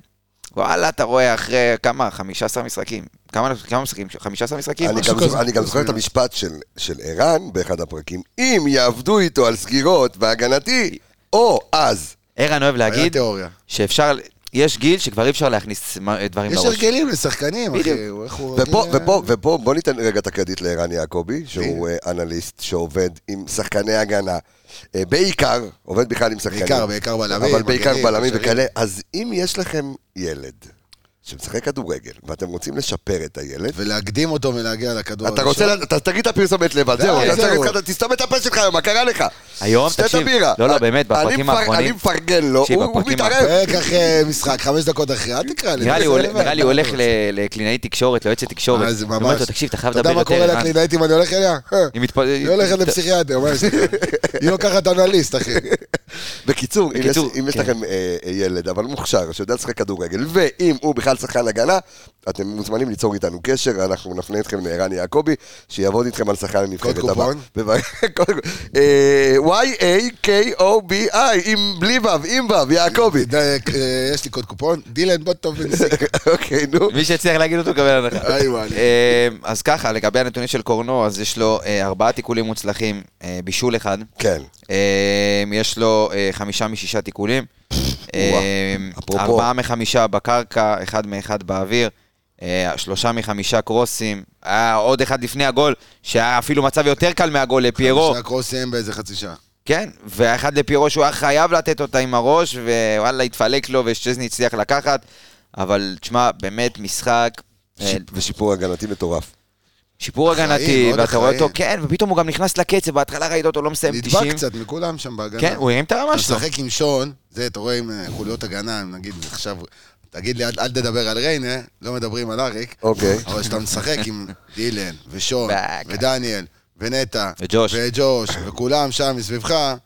וואלה, אתה רואה אחרי כמה? 15 משחקים. כמה כמה משחקים? 15 משחקים? אני משהו גם כזה. זוכר- אני גם זוכר את המשפט של- של ערן באחד הפרקים, אם יעבדו איתו על סגירות והגנתי, או אז. ערן אוהב היה להגיד תיאוריה. שאפשר, יש גיל שכבר אי אפשר להכניס מ- דברים יש לראש. הרגלים לשחקנים, אחי. לא בדיוק. הוא- איך הוא- אה? ופה, אני- ופה, ופה, בוא ניתן רגע את הקרדיט לערן יעקבי, שהוא מי? אה, אנליסט שעובד עם שחקני הגנה. אה, בעיקר, עובד בכלל עם שחקנים. בעיקר, בעיקר בלמים. אבל בעיקר מגנים, בלמים קשרים. וכאלה. אז אם יש לכם ילד שמשחק כדורגל, ואתם רוצים לשפר את הילד, ולהקדים אותו ולהגיע לכדור אתה רוצה, לה- אתה תגיד את הפרסומת לבד, די, זהו, אתה זהו. צריך- אתה תסתום את הפה שלך היום, מה קרה לך? היום, שתה את תקשיב, הבירה. לא, לא, אני- באמת, אני בפרקים מפר- האחרונים- אני מפרגן לו, תקשיב, הוא הוא בפרקים מתערב. פרק אחרי משחק, חמש דקות אחרי, אל תקרא לי. נראה לי תעשה הוא- לבד. נראה לי הוא הולך ל- לקלינאית תקשורת, ליועצת תקשורת. אה, אז היא אומרת ממש. לו, תקשיב, אתה חייב אתה יודע לדבר מה יותר, קורה ערן. לקלינאית אם אני הולך אליה? היא מתפ- היא הולכת לפסיכיאטר, מה יש לך? היא לוקחת אנליסט, אחי. בקיצור, אם יש, בקיצור, אם יש כן. לכם אה, אה, ילד, אבל מוכשר, שיודע לשחק כדורגל, ואם הוא בכלל שחקן הגנה, אתם מוזמנים ליצור איתנו קשר, אנחנו נפנה אתכם לערן יעקבי, שיעבוד איתכם על שחקן הנבחרת הבא. קופון? בב- קוד קופון. אה, Y-A-K-O-B-I, עם בלי וו, עם וו, יעקבי. אתה יודע, אה, יש לי קוד קופון, דילן בוא טוב בנסיק. אוקיי, נו. מי שהצליח להגיד אותו קבל הנחה. היי, וואלי. אה, אז ככה, לגבי הנתונים של קורנו, אז יש לו אה, ארבעה תיקולים מוצלחים, אה, בישול אחד. כן. אה, יש לו אה, חמישה משישה תיקולים. אה, אפרופו. ארבעה מחמישה בקרקע, אחד מאחד באוויר. אה, שלושה מחמישה קרוסים, היה עוד אחד לפני הגול, שהיה אפילו מצב יותר קל מהגול לפיירו. שהקרוסים באיזה חצי שעה. כן, ואחד לפיירו שהוא היה חייב לתת אותה עם הראש, ווואלה, התפלק לו ושצ'זני הצליח לקחת, אבל תשמע, באמת משחק, אה, שיפ- ושיפור הגנתי מטורף. שיפור אחראי, הגנתי, מאוד ואתה רואה אחראי. אותו, כן, ופתאום הוא גם נכנס לקצב, בהתחלה ראית אותו לא מסיים 90. נדבק קצת מכולם שם בהגנה. כן, הוא הרים את הרמה אתה שלו. משחק עם שון, זה, אתה רואה עם אה, חוליות הגנה, אם נגיד עכשיו, תגיד לי, אל אל תדבר על ריינה, לא מדברים על אריק. אוקיי. אבל כשאתה משחק עם דילן, ושון, בק. ודניאל, ונטע, וג'וש. וג'וש, וכולם שם מסביבך, אז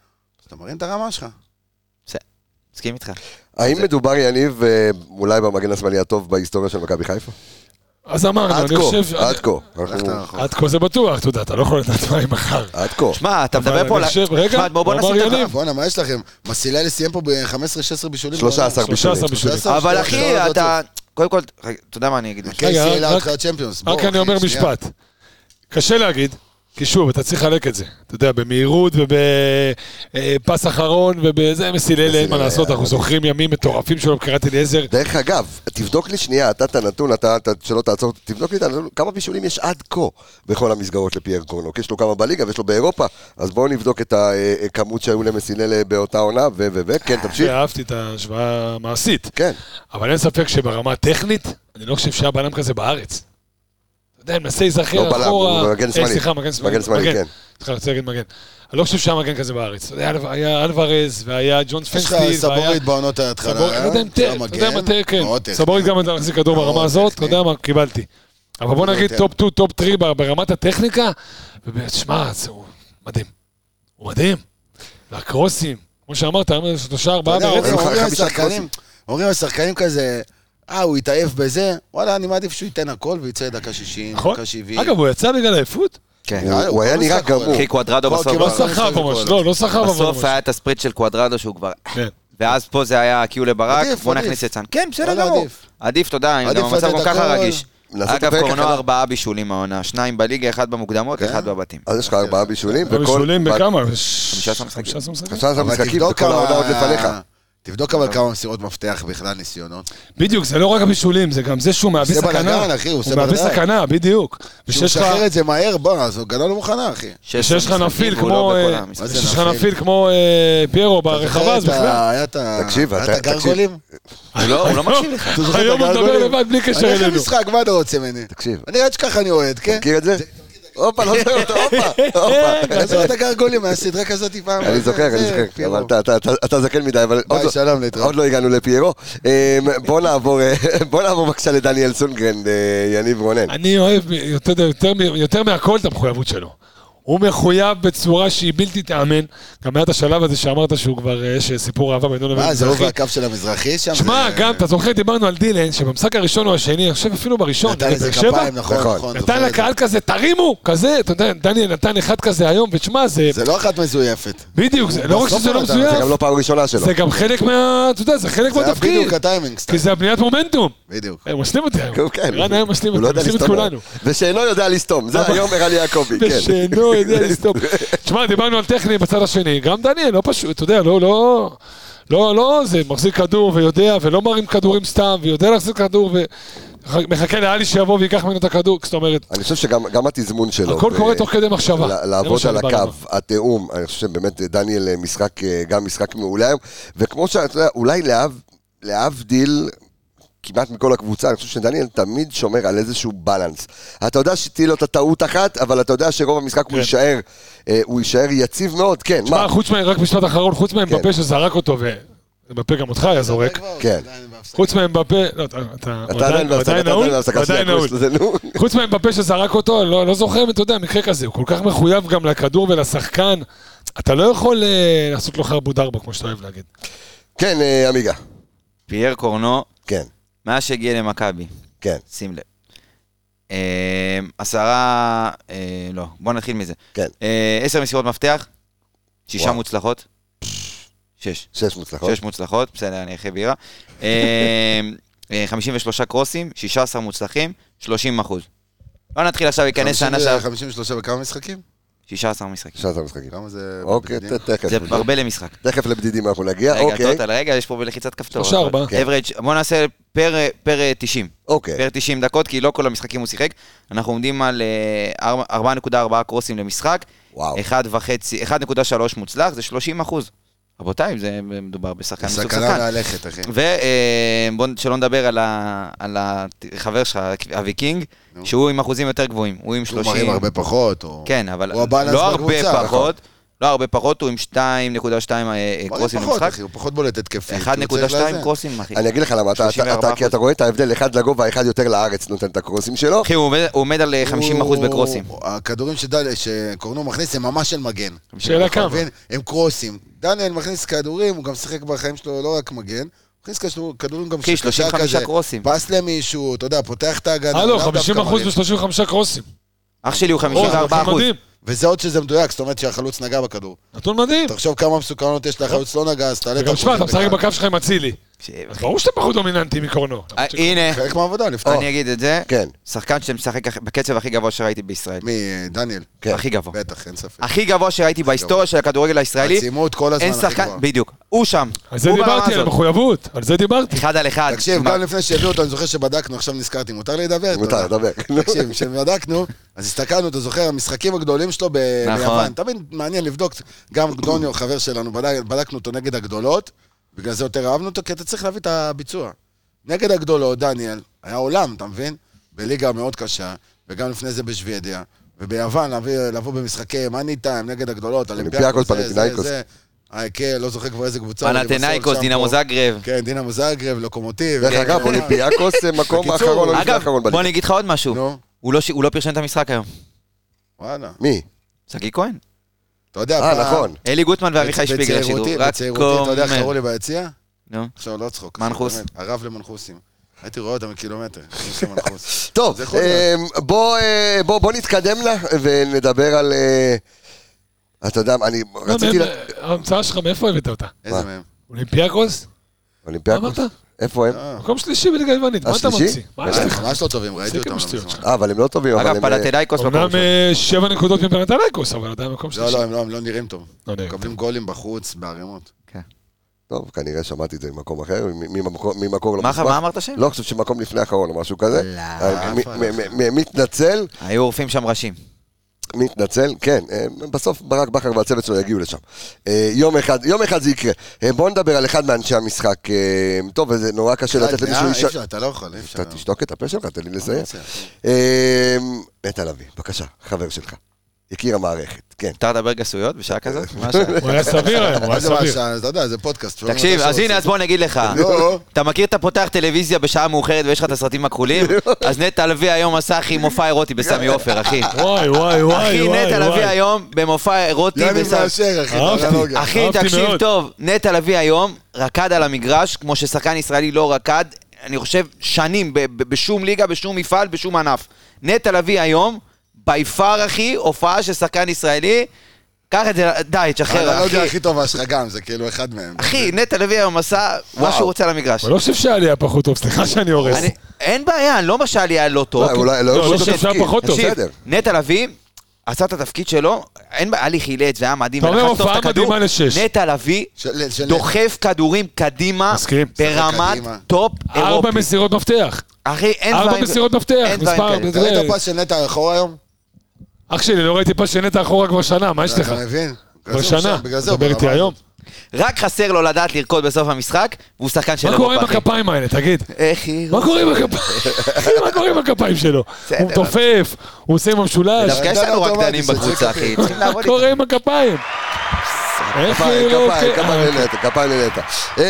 אתה מרים את הרמה שלך. מסכים איתך. האם מדובר, יניב, אה, אולי במגן השמאלי הטוב בהיסטוריה של מכבי חיפה? אז אמרנו, עד אני חושב... כה, עד כה. הלכת אנחנו- רחוק. עד כה זה בטוח, אתה יודע, אתה לא יכול לדעת מה עם מחר. עד כה. שמע, אתה אבל מדבר אני פה... על ה- חושב- רגע, שמע, בוא- בוא הוא נשים אמר את יניב. בואנה, מה יש לכם? מסיללי סיים פה ב-15-16 בישולים. 13 13 בישולים. בסדר, אבל בסדר, בסדר, אחי, אתה... קודם כל, רגע, אתה יודע מה אני אגיד? לך. קייסי רגע, העלה רק- אותך לצ'מפיונס. בוא, רק אני אחי, אומר שנייה. משפט. קשה להגיד, כי שוב, אתה צריך לחלק את זה. אתה יודע, במהירות ובפס אחרון ובזה, מסיללה, אין מה מסיללה, לעשות, אנחנו זוכרים ימים מטורפים שלו, קראתי לעזר. דרך אגב, תבדוק לי שנייה, אתה את הנתון, אתה, אתה שלא תעצור, תבדוק לי את הנתון, כמה בישולים יש עד כה בכל המסגרות לפייר קורנוק. יש לו כמה בליגה ויש לו באירופה, אז בואו נבדוק את הכמות שהיו למסיללה באותה עונה, ו... ו... ו... כן, תמשיך. אהבתי את ההשוואה המעשית. כן. אבל אין ספק שברמה הטכנית, אני לא חושב שהיה בלם כזה בארץ. אתה יודע, אני מנסה להיזכר לא בלם, כן, אחורה... הוא מגן אה, שמאלי. סליחה, מגן שמאלי. אוקיי. מגן שמאלי, כן. סליחה, אני רוצה להגיד מגן. אני לא חושב שהיה מגן כזה בארץ. אתה יודע, היה- היה אלוורז, והיה ג'ון יש לך פנסטיל, והיה... סבורית בעונות ההתחלה. סבורית, לא יודע אם זה תהיה, אתה יודע מה המגן, תהיה, כן. מאוד טכני. סבורית גם יודע להחזיק כדור מאוד ברמה הזאת, אתה טכני. לא יודע מה, קיבלתי. אבל בוא מאוד נגיד טכני. טופ 2, טופ 3 ברמת הטכניקה, ובאמת, שמע, זה הוא מדהים. הוא מדהים. והקרוסים, כמו שאמרת, היה לנו שלושה ארבעה אתה יודע, ברצף. אין לך אומרים על חמישה שחקנים- קרוסים. אומרים על שחקנים כזה, אה, הוא התעייף בזה, וואלה, אני מעדיף שהוא ייתן הכל ויצא דקה 60, נכון? דקה 70. אגב, הוא יצא בגלל עייפות? כן. הוא- הוא היה לא נראה משחק גול. גמור. אחי, קוואדרדו כבר בסוף... לא אבל- סחב אה, ממש, לא, לא סחב אבל ממש. בסוף היה את הספריט של קוואדרדו שהוא כבר... כן. ואז פה זה היה קיו לברק, עדיף, בוא עדיף. נכניס את סאן. כן, בסדר וואלה, גמור. עדיף. עדיף, תודה, אני עדיף גם במצב לתת כל כך הכל. רגיש. לעשות את אגב, הפרק קורנו החדש. ארבעה בישולים העונה, שניים בליגה, אחד במוקדמות, אחד בבתים. אז יש לך ארבעה בישולים, וכל... בישולים בכמה? 15 משחקים. 15 משחקים. 15 אבל משחקים, תבדוק וכל כמה- העונה עוד לפניך. תבדוק אבל כמה מסירות מפתח בכלל ניסיונות. בדיוק, זה לא רק הבישולים, זה גם זה שהוא מהווה עושה סכנה. בלאגן, אחי, הוא עושה מהווה בלאגן. סכנה, בדיוק. כשהוא ושיש לך- משחרר את זה מהר, בואנה, אז הגנה לא מוכנה, אחי. 16 ושיש לך משחקים, נפיל והוא לא כמו... בכל אה, המשחקים. מה זה ושיש לך נפיל? נפיל כמו אה, פיירו זוכר ברחבה, את אז ה- בכלל. היה את ה... תקשיב, היה אתה- את הגרגולים? הוא לא- הוא לא מקשיב לך. אתה זוכר את היום הוא מדבר הגרגולים? לבד בלי קשר אני הולך אלינו. למשחק, מה אתה רוצה ממני? תקשיב. אוקיי. אני עד שככה אני אוהד, כן? מכיר את זה? הופה, לא זוכר אותו, הופה, הופה. אני זוכר את הגרגולים מהסדרה כזאת פעם. אני זוכר, זה, אני זוכר, פיירו. אבל אתה- אתה- אתה- אתה זקן מדי, אבל עוד ביי, לא- שלום, להתראות. עוד לא הגענו לפיירו. אה, בוא נעבור אה, בוא נעבור בבקשה לדניאל סונגרן, אה, יניב רונן. אני אוהב יותר- יותר- יותר מהכל את המחויבות שלו. הוא מחויב בצורה שהיא בלתי תיאמן. גם היה את השלב הזה שאמרת שהוא כבר, אה, יש סיפור אהבה בינו לא- לבין מה, זה לא הוא מזרחי. והקו של המזרחי שם? אה. שמע, זה- גם, אתה זוכר, דיברנו על דילן, שבמשחק הראשון או השני, אני חושב אפילו בראשון, נתן נגד לזה באר שבע, כפיים, נכון, נכון. נכון. נתן זוכר את זה. לקהל כזה, תרימו, כזה, אתה יודע, דניאל נתן אחד כזה היום, ותשמע, זה זה לא אחת מזויפת. בדיוק, זה לא רק בסוף שזה הוא לא נתן, זה זה גם מזויף, לא פעם ראשונה שלו. זה גם חלק מה... אתה יודע, זה חלק זה היה מהתפקיד, בדיוק הטיימינג סתם. כי זה הבניית מומנטום. בדיוק. הם משלים אותי היום, כן, רן היום משלים הוא לא אותי, יודע משלים את לסתום. כולנו. ושאינו יודע לסתום, זה היום ערן יעקבי, כן. ושאינו יודע לסתום. תשמע, דיברנו על טכני בצד השני, גם דניאל, לא פשוט, אתה יודע, לא, לא, לא, לא, זה מחזיק כדור ויודע, ולא מרים כדורים סתם, ויודע להחזיק כדור, ומחכה לאלי שיבוא וייקח ממנו את הכדור, זאת אומרת, אני חושב שגם גם התזמון שלו. הכל לא, ו- קורה תוך כדי מחשבה. ל- זה מה לעבוד שאני על בא הקו, לומר. התיאום, אני חושב שבאמת דניאל אה, משחק, אה, גם משחק מעולה היום, וכמו שאתה יודע, אולי להב- להבדיל כמעט מכל הקבוצה, אני חושב שדניאל תמיד שומר על איזשהו בלנס. אתה יודע שתהיה לו את הטעות אחת, אבל אתה יודע שרוב המשחק הוא כן. יישאר, אה, הוא יישאר יציב מאוד, כן, מה, מה? חוץ מה... רק משפט אחרון, חוץ מאמבפה שזרק אותו, ומבפה גם אותך היה זורק. כן. חוץ מאמבפה, לא, אתה- אתה אתה עדיין הוא בהפסקה, עדיין אתה נעול, עדיין הוא בהפסקה עדיין שנייה, נעול. יש לזה, נו. חוץ מהמבפה שזרק אותו, לא, לא זוכר, אתה יודע, מקרה כזה, הוא כל כך מחויב גם לכדור ולשחקן, אתה לא יכול אה, לעשות לו חרבוד ארבע, כמו שאתה אוהב להגיד. כן, אה, עמיגה, פייר קורנו, כן, מאז שהגיע למכבי, כן, שים לב. אה, עשרה, אה, לא, בוא נתחיל מזה. כן. אה, עשר מסירות מפתח, שישה וואו. נכון. מוצלחות. שש. שש מוצלחות. שש מוצלחות, בסדר, אני אחרי בירה. אה, אה, 53 קרוסים, 16 מוצלחים, 30 אחוז. לא נתחיל עכשיו להיכנס לענה של 53 בכמה משחקים? 16 משחקים. 16 משחקים. כמה זה... אוקיי, בדיוק? ת- תכף. זה הרבה למשחק. תכף לבדידים אנחנו נגיע, רגע, כן, אוקיי, טוטל, רגע, יש פה בלחיצת כפתור. שלושה, ארבעה. כן. אברג', בוא נעשה פר- פר אה, 90. אוקיי. פר 90 דקות, כי לא כל המשחקים הוא שיחק. אנחנו עומדים על אה, ארבע- 4.4 קרוסים למשחק, וואו. 1.5 1.3 מוצלח, זה 30 אחוז. רבותיי, זה מדובר בשחקן מסוג סכנה שחקן. מהלכת, אחי. ובואו שלא נדבר על ה- על החבר שלך, הוויקינג, נו. שהוא עם אחוזים יותר גבוהים, הוא עם הוא מרים 30. הרבה פחות, או... כן, אבל הוא הבלנס לא בקבוצה, הרבה נכון. פחות, לא הרבה פחות, הוא עם 2.2 אה, הוא קרוסים מרים פחות, למשחק. אחי, הוא פחות בולט התקפי. 1.2 קרוסים, אחי. אני אגיד לך למה, אתה- אתה- 34%. אתה- כי אתה רואה את ההבדל, אחד לגובה, אחד יותר לארץ נותן את הקרוסים שלו. אחי, הוא עומד- הוא עומד על אה, 50% בקרוסים. הכדורים שדל- שקורנו מכניס הם ממש של מגן. כן, שאלה כמה. מבין? הם קרוסים. דניאל מכניס כדורים, הוא גם שיחק בחיים שלו לא רק מגן, הוא מכניס כדור- כדורים גם אחי, של קשר 35 כזה, קרוסים. פס למישהו, אתה יודע, פותח את ההגנה. הלו, לאו דווקא 50 אחוז מרים. ב-35 קרוסים. אח שלי הוא אוי, זה 54 אחוז. מדהים. וזה עוד שזה מדויק, זאת אומרת שהחלוץ נגע בכדור. נתון מדהים. תחשוב כמה מסוכנות יש לחלוץ לא נגע, אז תעלה את וגם שמע, אתה האחוזים משחק בכלל. בקו שלך עם אצילי. תקשיב, אחי. ברור שאתה פחות דומיננטי מקורנו. אה, הנה, חלק מהעבודה, נפתח. אני אגיד את זה. כן. שחקן שמשחק הכ- בקצב הכי גבוה שראיתי בישראל. מי, אה, דניאל? כן. הכי גבוה. בטח, אין ספק. הכי גבוה שראיתי בהיסטוריה של הכדורגל הישראלי. עצימות כל הזמן אין הכי שחקן, גבוהה. בדיוק. הוא שם. על זה הוא ברמה דיברתי, על הזאת. המחויבות. על זה דיברתי. אחד על אחד. תקשיב, מה- גם לפני שהביאו אותו, אני זוכר שבדקנו, עכשיו נזכרתי, מותר לי לדבר? כן, מותר, תודה. דבר. תקשיב, כשבדקנו, אז הסתכלנו, אתה זוכר, המשחקים הגדולים שלו ב- נכון. ביוון. תמיד מעניין לבדוק, גם דוניו, חבר שלנו, בדק- בדקנו אותו נגד הגדולות, בגלל זה יותר אהבנו אותו, כי אתה צריך להביא את הביצוע. נגד הגדולות, דניאל, היה עולם, אתה מבין? בליגה מאוד קשה, וגם לפני זה בשוודיה, וביוון, להביא- לבוא במשחקי מאני טיים נגד הגדולות, אולימפיאקוס, זה, זה, פנתינייקוס. זה. אה, כן, לא זוכר כבר איזה קבוצה. אבל עם פנתנאיקוס, הסול דינמו שם פה. זאגרב. כן, דינמו זאגרב, לוקומוטיב. דרך אגב, כן. אולימפיאקוס זה מקום בקיצור, האחרון, או לפני אגב, האחרון בוא בליגה. אני אגיד לך עוד משהו. נו, הוא לא ש- הוא לא פרשן את המשחק היום. וואלה. מי? שגיא כהן. אתה יודע, פעם- אה, נכון. אלי גוטמן ואביחי בצ- שפיגל השידור. בצעירותי- רק בצעירותי, אתה יודע איך קומן. קראו לי ביציע? נו. עכשיו, לא צחוק. מנחוס. באמת, הרב למנחוסים. הייתי רואה אותם מקילומטר. קוראים לזה מנחוס. טוב, זה יכול להיות. אה, בוא, אה, בוא בוא נתקדם לה ונדבר על... אה, אתה יודע, מה, אני לא, רציתי... אה, לה- ההמצאה שלך, מאיפה הבאת אותה? איזה מה? מהם? אולימפיאקוס? אולימפיאקוס? אמרת? איפה הם? אה, מקום שלישי בליגה היוונית, מה אתה השלישי? ממציא? מה יש לך? ממש לא טובים, ראיתי תפסיק אותם. עם לא השטויות מזמן. שלך. אה, אבל הם לא טובים, אבל אגב, הם... אה, פנתנאיקוס מקום אומנם ראשון. אה, שבע נקודות מפנתנאיקוס, אבל עדיין מקום לא, שלישי. לא, הם לא- הם לא נראים טוב. לא נראה. מקבלים גולים בחוץ, בערימות. טוב, כנראה שמעתי את זה ממקום אחר, מ- ממקום- אה, ממקום לא מה- מוסמך. מה אמרת שם? לא, אני חושב שמקום לפני האחרון או משהו כזה. לא. אה, מ- מ- מ- מתנצל, היו עורפים שם ראשים. מתנצל, כן, אה, בסוף ברק בכר והצוות שלו יגיעו לשם. אה, יום אחד, יום אחד זה יקרה. אה, בואו נדבר על אחד מאנשי המשחק. אה, טוב, זה נורא קשה לתת אה, למישהו... אי אישה- אפשר, אתה לא יכול, אי אפשר. לא אתה תשתוק את הפה שלך, תן לי לסיים. בסדר. אה, נטע לביא, בבקשה, חבר שלך. יקיר המערכת, כן. מותר לדבר גסויות בשעה כזאת? מה השעה? לא, הוא היה סביר היום, הוא היה מה זה מה סביר. שה- אתה יודע, זה פודקאסט. שומעים תקשיב, אותה אז שעות. הנה, אז בוא אני אגיד לך. לא. אתה מכיר אתה פותח טלוויזיה בשעה מאוחרת ויש לך את הסרטים הכחולים? לא. אז נטע לביא היום עשה אחי מופע אירוטי בסמי עופר, אחי. וואי, וואי, וואי, אחי, וואי, לא, נטע לביא וואי. היום במופע אירוטי יוני בסמי... מאשר, אחי, לא אהבתי. טכנולוגיה. אחי, אהבתי תקשיב מאוד. טוב, נטע לביא היום רקד על המגרש כמו ששחקן ישראלי לא רקד, אני חושב, שנים, ב- ב- בשום ליגה, בשום מפעל, בשום ענף. נטע לביא היום, בי פאר, אחי, הופעה של שחקן ישראלי, קח את זה, די, לא תשחרר, האנלוגיה אחי. לא הכי טובה שלך גם, זה כאילו אחד מהם. אחי, נטע לביא היום עשה מה שהוא רוצה על המגרש. אבל לא חושב שהעלי היה פחות טוב, סליחה שאני הורס. אני- אין בעיה, אני לא אומר שעלי היה לא טוב. אולי- אולי לא לא, יאהבו לא את חושב שהיה התפקיד. פחות טוב, תקשיב, תקשיב, בסדר. נטע לביא עשה את התפקיד שלו, אין בעיה, עלי חילץ, זה היה מדהים. אתה אומר ולחץ טוב את הופעה הכדור. מדהימה לשש. נטע לביא של- של- דוחף כדורים קדימה, מסכים. ברמת קדימה. טופ ארבע אירופי. מסירות מפתח. אחי, אין ארבע דברים- מסירות מפתח, אין דברים מספר... כאלה. זה- ראית פס של נטע אחורה היום? אח שלי, לא ראיתי פס שנטע אחורה כבר שנה, מה יש לך? אתה מבין? כבר שנה, בגלל זה הוא דבר איתי ברמה היום. רק חסר לו לדעת לרקוד בסוף המשחק, והוא שחקן של מה קורה עם אירופה, אחי. הכפיים האלה, תגיד? איך היא... מה קורה עם הכפיים? אחי, מה קורה עם הכפיים שלו? בסדר. הוא מתופף, הוא עושה עם המשולש, דווקא יש לנו רקדנים בקבוצה, אחי. צריכים מה לעבוד קורה עם הכפיים? איך כפיים, היא לא... כפיים, אה, כפיים לנטע, כפיים לנטע. אמ,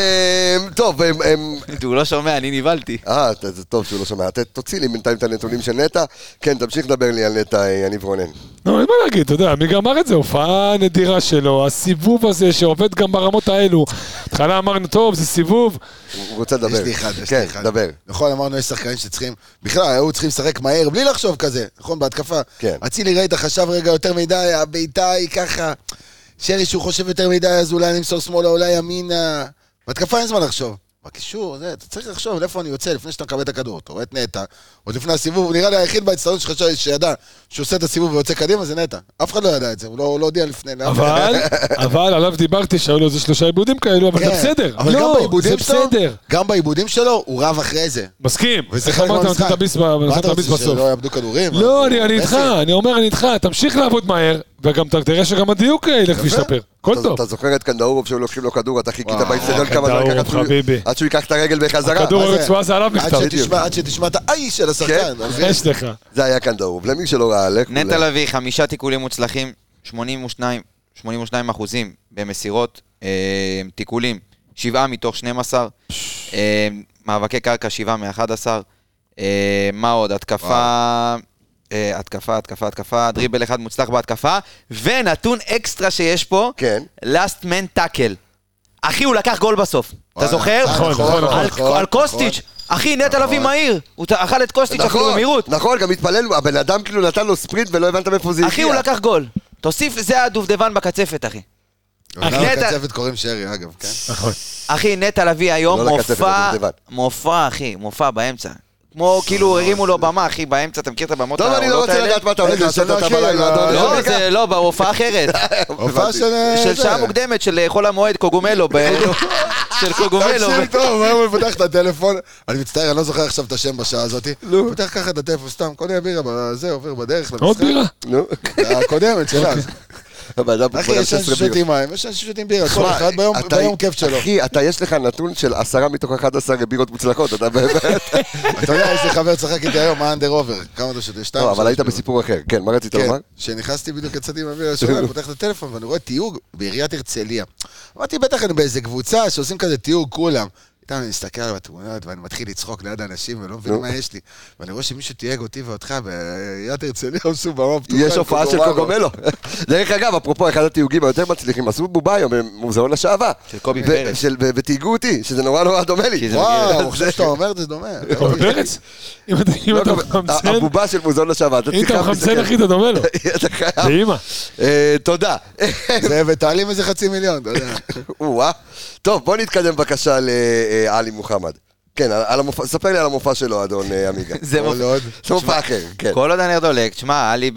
טוב, אמ, אמ, איתו. הוא לא שומע, אני נבהלתי. אה, ת- זה טוב שהוא לא שומע. ת- תוציא לי בינתיים את הנתונים של נטע. כן, תמשיך לדבר לי על נטע, אה, יניב רונן. נו, לא, אין מה להגיד, אתה יודע, מי גמר את זה? הופעה נדירה שלו, הסיבוב הזה שעובד גם ברמות האלו. בהתחלה אמרנו, טוב, זה סיבוב. הוא רוצה לדבר. יש לי אחד, יש כן, לי אחד. דבר. נכון, אמרנו, יש שחקנים שצריכים... בכלל, היו צריכים לשחק מהר, בלי לחשוב כזה, נכון, בהתקפה. כן. אצילי, ראית, חשב רגע יותר מדי, הבעיטה היא ככה. שרי, שהוא חושב יותר מדי, אז אולי אני אמסור שמאלה, אולי ימינה. בהתקפה אין זמן לחשוב. בקישור, זה, אתה צריך לחשוב לאיפה אני יוצא לפני שאתה מקבל את הכדור. אתה רואה את נטע, עוד לפני הסיבוב, הוא נראה לי היחיד בהצטרנות שחשב- שידע שהוא עושה את הסיבוב ויוצא קדימה, זה נטע. אף אחד לא ידע את זה, הוא לא הוא לא הודיע לפני. לאף אחד. אבל, אבל עליו דיברתי שהיו לו איזה שלושה עיבודים כאלו, אבל זה בסדר. כן. אבל גם לא, בעיבודים זה שלו, בסדר. גם בעיבודים שלו, הוא רב אחרי זה. מסכים. וזה איך חלק אמרת, מהמשחק. נותן את הביס ב- מה נותן את אתה רוצה, הביס בסוף. שלא יאבדו כדורים? לא, אני אני איתך, מסי. אני אומר, אני איתך. תמשיך לעבוד מהר, וגם ת- תראה שגם הדיוק אה, ילך וישתפר. הכל אתה- טוב. אתה זוכר את קנדאורוב שהיו לוקחים לו כדור, אתה חיכית וואו, באיצטדיון כמה זמן קנדאורוב, לקח עד שהוא- חביבי. עד שהוא ייקח את הרגל בחזרה. הכדור מה זה? הרצועה זה עליו עד נכתב. שתשמע- עד שתשמע את האי של השחקן. כן. אז יש- יש לך. זה היה קנדאורוב, למי שלא ראה, לכו. נטע ל- לא- לביא, חמישה תיקולים מוצלחים, 82, 82 אחוזים במסירות, אה, תיקולים, שבעה מתוך 12, אה, מאבקי קרקע, שבעה מ-11, אה, מה עוד? התקפה, אה, התקפה, התקפה, התקפה, דריבל אחד מוצלח בהתקפה, ונתון אקסטרה שיש פה, כן. last man tackle. אחי, הוא לקח גול בסוף. אתה וואלה, זוכר? נכון, נכון, על- נכון, על קוסטיץ'. אחי, נטע לביא מהיר. הוא ת- אכל את קוסטיץ' אפילו נכון, במהירות. נכון, גם התפלל, הבן אדם כאילו נתן לו ספרינט ולא הבנת מאיפה זה הגיע. אחי, הוא לקח גול. תוסיף, זה הדובדבן בקצפת, אחי. אחי, נטע- קצבת לא, קוראים שרי, אגב, כן? נכון. אחי, נטע לביא היום לא לקצפת, מופע, לדובדבן. מופע, אחי, מופע באמצע. כמו כאילו הרימו לו במה, אחי, באמצע, אתה מכיר את הבמות טוב, אני לא העולות רוצה האלה? לדעת מה אתה הולך רגע, לעשות שלא אותה יקרה, בלילה, אדון. לא, רגע. זה לא, בהופעה אחרת. הופעה של... אה, של זה. שעה מוקדמת, של אה, חול המועד, קוגומלו. ב- של קוגומלו. תקשיב טוב, היום הוא פותח את הטלפון, אני מצטער, אני לא זוכר עכשיו את השם בשעה הזאת. פותח ככה את הטלפון, סתם, קונה בירה, זה עובר בדרך למשחק. עוד בירה? לא, אוקיי. נו, הקודמת שלה. הבן אדם פה אחי, כבר יש עשר אנשים בירות. ששותים מים, יש אנשים ששותים בירה, כל תשמע, אחד ביום- אתה- ביום כיף שלו. אחי, אתה, יש לך נתון של עשרה מתוך 11 בירות מוצלחות, אתה באמת... אתה יודע, יש לי חבר צחק איתי היום, מה אנדר עובר? כמה אתה שותה? שתיים? לא, אבל שלוש היית בירות. בסיפור אחר. כן, מה רצית כן, לומר? שנכנסתי בדיוק, יצאתי מהבירה השונה, אני פותח את הטלפון ואני רואה תיוג בעיריית הרצליה. אמרתי, בטח אני באיזה קבוצה שעושים כזה תיוג, כולם. איתם אני מסתכל על התמונות ואני מתחיל לצחוק ליד האנשים ולא מבין מה יש לי. ואני רואה שמישהו תייג אותי ואותך בעיריית הרצליה, עשו במה פתוחה. יש הופעה של קוגומרו. קוגומלו. דרך אגב, אפרופו, אחד התיוגים היותר מצליחים, עשו בובה היום במוזיאון השעווה. של קובי ו- פרץ. של- ו- ותהיגו אותי, שזה נורא נורא דומה לי. כי זה וואו, זה- אני חושב שאתה אומר את זה דומה. קובי פרץ? אם אתה- אם לא, אתה קובי- אה, מחמצן, הבובה של מוזיאון השעווה, אתה אם צריך אתה גם כן. מחמצן, להסתכל. אחי, אתה דומה לו. אתה חייב. באמא. אה, תודה. זה, ותעלים איזה חצי מיליון, אתה יודע. או-אה. טוב, בוא נתקדם בבקשה לעלי מוחמד. כן, על- על המופע, ספר לי על המופע שלו, אדון אה, עמיגה. זה כל מופע. עוד. זה מופע אחר, כן. כל עוד לא הנר דולק, תשמע, עלי ב...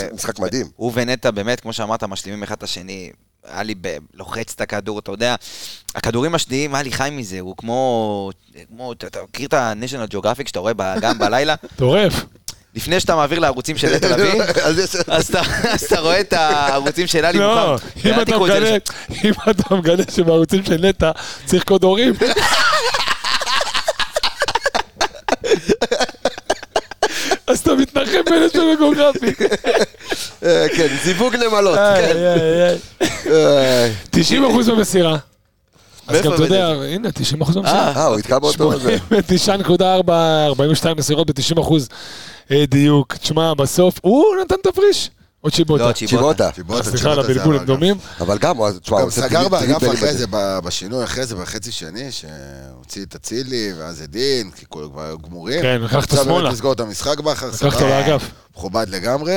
זה משחק מדהים. הוא ונטע, באמת, כמו שאמרת, משלימים אחד את השני. עלי ב... לוחץ את הכדור, אתה יודע. הכדורים השניים, עלי חי מזה, הוא כמו... כמו... אתה- אתה מכיר את ה-National Geographic שאתה רואה ב- גם בלילה? טורף. לפני שאתה מעביר לערוצים של נטע לביא, אז יש- אז אתה- אז אתה רואה את הערוצים של עלי לא, מוחמד. אם ואל אתה תיקחו את זה מגלה, לשם. אם אתה מגלה שבערוצים של נטע צריך קוד הורים, אז אתה מתנחם בין השם הגיאוגרפי. אה, כן, זיווג נמלות, איי, כן. איי, איי. אה, 90% במסירה. אז גם אתה יודע, הנה, 90% במסירה. אה, הוא יתקע באותו... זה. 9.4, 42 מסירות ב-90% דיוק. תשמע, בסוף, הוא נתן תפריש. עוד שיבוטה. אה, לא, צ'יבוטה. צ'יבוטה. תשיבות, סליחה על תשיבות, הבלבול, זה הם דומים. אבל גם, הוא- תשמע, הוא גם עושה סגר טריפ- באגף טריפלים אחרי בזה. זה, ב- בשינוי אחרי זה, בחצי שני, שהוציא את אצילי, ואז את דין, כי כולם כבר היו גמורים. כן, לקח אותו עכשיו אה, שמאלה. באמת לסגור את המשחק בכר, לקח אותו לאגף. מכובד לגמרי.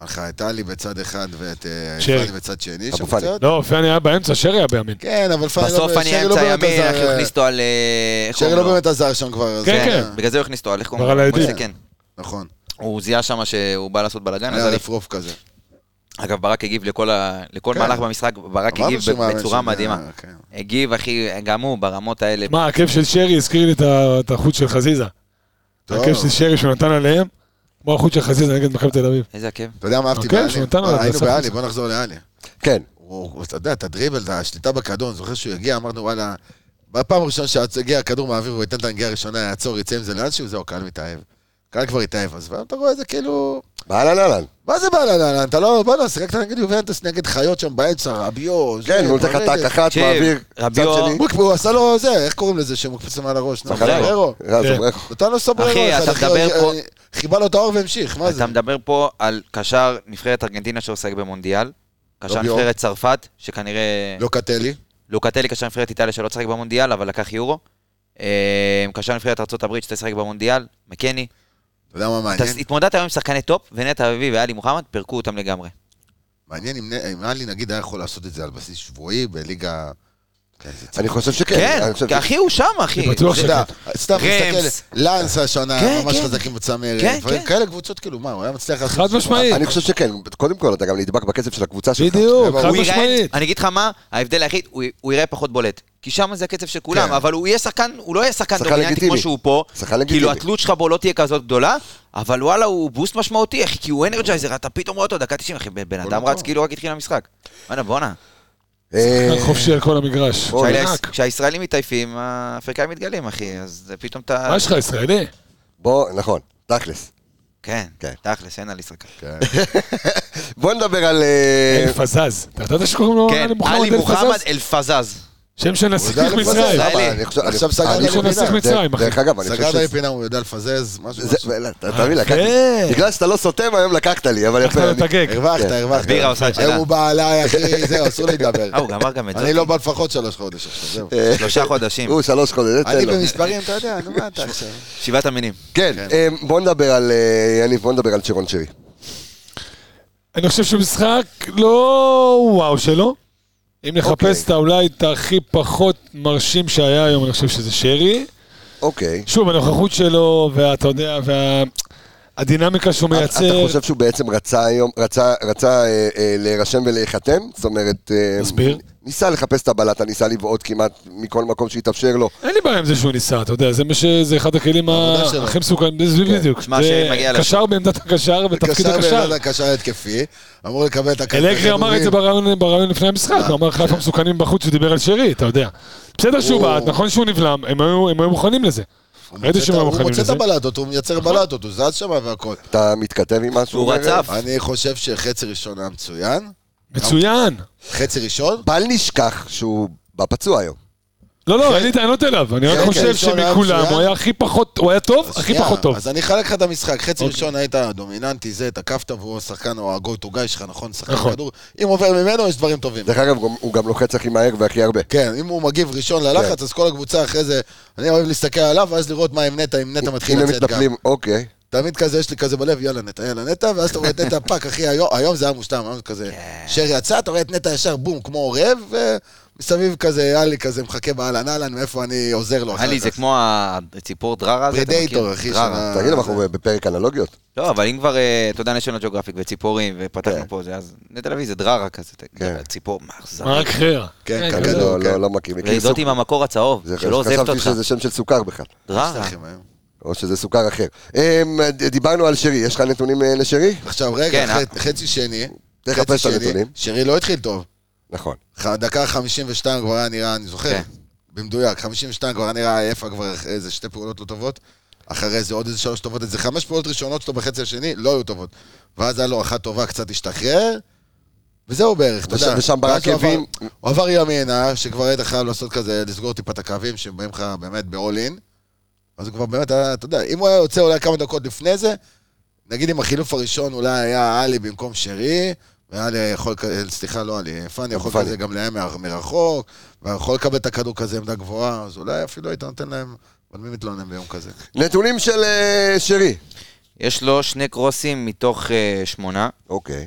הלכה את טלי בצד אחד ואת אה, שרי. יפני בצד שני. אבו שם פאני. קצת. לא, פאני היה באמצע, שרי היה בימין. כן, אבל פאני לא- בסוף אני שרי לא אמצע באמת ימין, עזר, אחי, הוא אה, הכניס אותו על... אה, איך שרי קוראים לא לו? באמת עזר שם כבר. אז, כן, אה, כן. בגלל זה הוא הכניס אותו על איך כבר קוראים על לו? העדים. מויסה, כן. נכון. הוא זיהה שם שהוא בא לעשות בלאגן, אז היה עלי רפרוף כזה. אגב, ברק הגיב לכל, ה... לכל כן. מהלך במשחק, ברק אמרנו הגיב שהוא מאמן בצורה שזה- מדהימה. כן. הגיב, אחי, גם הוא, ברמות האלה. מה, הכיף של שרי הזכיר לי את ה- את החוץ של חזיזה. טוב. הכיף של שרי שהוא נתן עליהם, כמו החוץ של חזיזה נגד מכבי תל אביב. איזה עקב. אתה יודע מה אהבתי אוקיי, בעלי? שנתנו לו את היינו הסוף. בעלי, בוא נחזור לעלי. כן. הוא, אתה יודע, את הדריבל, את השליטה בכדור, אני זוכר שהוא הגיע, אמרנו, וואלה, בפעם הראשונה שהגיע הכדור מהאוויר, הוא ייתן את הנגיעה הראשונה, יעצור, יצא עם זה לאנשהו, זהו, קהל מתאהב. קהל כבר התאהב, אז אתה רואה זה כאילו... באהלן אהלן. מה זה בעלה לאללה? אתה לא... בוא'נה, שיחקת נגד יובנטוס, נגד חיות שם באמצע, רביו... זה, כן, הוא נותן לך פרנדס. טאק אחת תקשיב, מעביר. צד רביו- שני. הוא- הוא עשה לו זה, איך קוראים לזה שמוקפצים על הראש? נו, סבררו. סבררו. אה, זה בערך- נתן לו סבררו. אחי, אחד, אתה מדבר אה, פה- חיבה לו את האור והמשיך, מה זה? אתה מדבר פה על קשר נבחרת ארגנטינה שעוסק במונדיאל, קשר רביו. נבחרת צרפת, שכנראה... לא קטלי. לוקטלי, קשר נבחרת איטליה שלא צחק במונדיאל, אבל לקח יורו. אה, קשר נבחרת ארה"ב שתשחק במונדיאל, מקני. אתה יודע מה אתה מעניין? התמודדת היום עם שחקני טופ, ונטע אביבי ואלי מוחמד פירקו אותם לגמרי. מעניין אם נ- אם אלי נגיד היה יכול לעשות את זה על בסיס שבועי בליגה... כן, זה אני חושב שכן. כן, אני חושב כי אחי, הוא שם, אחי. אני בטוח אתה זה- יודע, סתם רמס. מסתכל, לאנס השנה, כן, ממש כן. חזקים בצמרת, כן, דברים כן. כאלה קבוצות, כאילו, מה, הוא היה מצליח לעשות... חד משמעית. אני חושב שכן. קודם כל, אתה גם נדבק בכסף של הקבוצה שלך. בדיוק, הוא חד הוא יראה, משמעית. אני אגיד לך מה, ההבדל היחיד, הוא- הוא יראה פחות בולט. כי שם זה הקצב של כולם, כן. אבל הוא יהיה שחקן, הוא לא יהיה שחקן שחקן דומיננטי לגיטימי. כמו שהוא פה. שחקן לגיטימי. כאילו התלות שלך בו לא תהיה כזאת גדולה, אבל וואלה, הוא בוסט משמעותי, אחי, כי הוא אנרג'ייזר, אתה פתאום רואה אותו דקה 90, אחי, בן אדם מקום. רץ כאילו רק התחיל המשחק. וואלה, בואנה. אה, כאן חופשי על כל המגרש. אוי, כשהילה- ענק. כשהישראלים מתעייפים, האפריקאים מתגלים, אחי, אז זה פתאום אתה... מה יש לך, ישראלי? בוא, נכון, תכלס. כן, כן. תכלס, אין על ישראל. בוא נדבר על... אה, אלפזז. אתה ידעת שקוראים לו כן, עלי מוחמד עלי מוחמד אלפזז? אלפזז. שם של הוא נסיך יודע מצרים. אה, לפזר. למה? אני חושב- אני חושב עכשיו סגרת אני לי חושב- פינה. נסיך מצרים, אחי. דרך אגב, אני חושב סגרת שזה... לי פינה, הוא יודע לפזז, משהו. זה- משהו. ואללה, ת- תביא, לקחתי. בגלל שאתה לא סותם, היום לקחת לי, אבל לקחת יפה. לו את אני- הגג. הרווחת, כן. הרווחת. בירה עושה את שלה. היום הוא בא עליי, אחי, זהו, אסור לי לדבר. אה, הוא גמר גם את זה. אני לא בא לפחות שלוש חודש עכשיו, זהו. אה, שלושה חודשים, אה, הוא שלוש חודשים, תן כן. אני לו. במספרים, אתה יודע, נו, מה אתה עכשיו? שבעת המינים. כן, אמ, בוא נדבר על... אה, יניב, בוא נדבר על צ'רון שרי. אני חושב שמשחק לא וואו שלו. אם אוקיי. נחפש את אולי את הכי פחות מרשים שהיה היום, אני חושב שזה שרי. אוקיי. שוב, הנוכחות שלו, ואתה יודע, והדינמיקה שהוא אתה מייצר. חושב שהוא בעצם רצה היום, רצה- רצה אה, אה, להירשם ולהיחתם? זאת אומרת... אה, תסביר. ניסה לחפש את הבלטה, ניסה לבעוט כמעט מכל מקום שהתאפשר לו. אין לי בעיה עם זה שהוא ניסה, אתה יודע, זה מה ש... זה אחד הכלים העבודה ה- שלו. כן, הכי מסוכנים, זה בדיוק. שמע, זה שמגיע לשם. קשר בעמדת הקשר ותפקיד קשר הקשר. בעמדת הקשר התקפי, אמור לקבל את הכדור. אלגרי אמר את זה בריאיון בריאיון לפני המשחק, הוא אמר חיפה מסוכנים בחוץ, הוא דיבר על שרי, אתה יודע. בסדר שהוא הוא- בעט, נכון שהוא נבלם, הם היו הם היו מוכנים לזה. ראיתי שהם היו הוא מוכנים מוצא את לזה. הבלטות, הוא מייצר נכון. בלטות, הוא זז שם והכל. אתה מתכתב עם משהו? הוא רצף. אני חושב שחצי ראשון היה מצוין. מצוין. חצי ראשון? בל נשכח שהוא בא פצוע היום. לא, לא, אין לי טענות אליו, אני כן, רק כן, חושב ראשון היה שמכולם מצוין. הוא היה הכי פחות, הוא היה טוב, אז הכי שנייה, פחות טוב. אז אני אחלק לך את המשחק. חצי אוקיי. ראשון היית דומיננטי, זה, תקפת, והוא השחקן או הגו-טו גיא שלך, נכון? שחקן נכון. כדור. אם עובר ממנו, יש דברים טובים. דרך אגב, הוא גם לוחץ הכי מהר והכי הרבה. כן, אם הוא מגיב ראשון ללחץ, אז כל הקבוצה אחרי זה, אני אוהב להסתכל עליו, ואז לראות מה עם נטע, אם נטע מתחיל אם הם לצאת גם. מתנפלים, אוקיי. תמיד כזה, יש לי כזה בלב, יאללה נטע, יאללה נטע, ואז אתה רואה את נטע פאק, אחי, היום, היום זה היה מושלם, היום זה כזה, שר יצא, אתה רואה את נטע ישר, בום, כמו עורב, ומסביב כזה, יאללה, כזה מחכה באהלן אהלן, מאיפה אני עוזר לו אחר עלי, זה כך. כמו הציפור דררה הזה, אתה מכיר? פרדייטור, אחי, דררה. שמה- תגיד, אנחנו בפרק אנלוגיות. כן, לא, אבל אם כבר, אה, אתה יודע, נשיונות ג'וגרפיק וציפורים, ופתחנו פה זה, אז נטע לביא זה דררה כזה, אתה יודע, ציפור, מה אכזרי. מה רק חרא. כן, אני כדור, לא- כן. לא- לא מכיר. מכיר וזאת סוכר. עם המקור הצהוב, זה- שלא עוזבת חשבתי אותך. שזה שם של סוכר בכלל, דררה. אחי, מה- או שזה סוכר אחר. אמ, ד- דיברנו על שרי, יש לך נתונים אה, לשרי? עכשיו כן, רגע, אה. ח- חצי שני, תחפש את חצי שני, הנתונים. שרי לא התחיל טוב. נכון. ח- דקה 52 כבר היה נראה, אני זוכר, כן. במדויק, 52 כבר היה נראה עייפה כבר אחרי איזה שתי פעולות לא טובות, אחרי זה עוד איזה שלוש טובות, איזה חמש פעולות ראשונות שלו בחצי השני, לא היו טובות. ואז היה לו אחת טובה, קצת השתחרר, וזהו בערך, אתה וש- יודע. ושם ואז ברק הוא עבר- הבין- הוא עבר ימינה, שכבר היית חייב לעשות כזה, לסגור טיפה את הקווים, שהם באים לך באמת ב-all in. אז הוא כבר באמת היה, אתה יודע, אם הוא היה יוצא אולי כמה דקות לפני זה, נגיד אם החילוף הראשון אולי היה עלי במקום שרי, ואלי יכול, כ- סליחה, לא עלי, פאני יכול פאני. כזה גם להם מר- מרחוק, ויכול לקבל את הכדור כזה עמדה גבוהה, אז אולי אפילו היית נותן להם, אבל מי מתלונן ביום כזה? נתונים של אה, שרי. יש לו שני קרוסים מתוך אה, שמונה, אוקיי.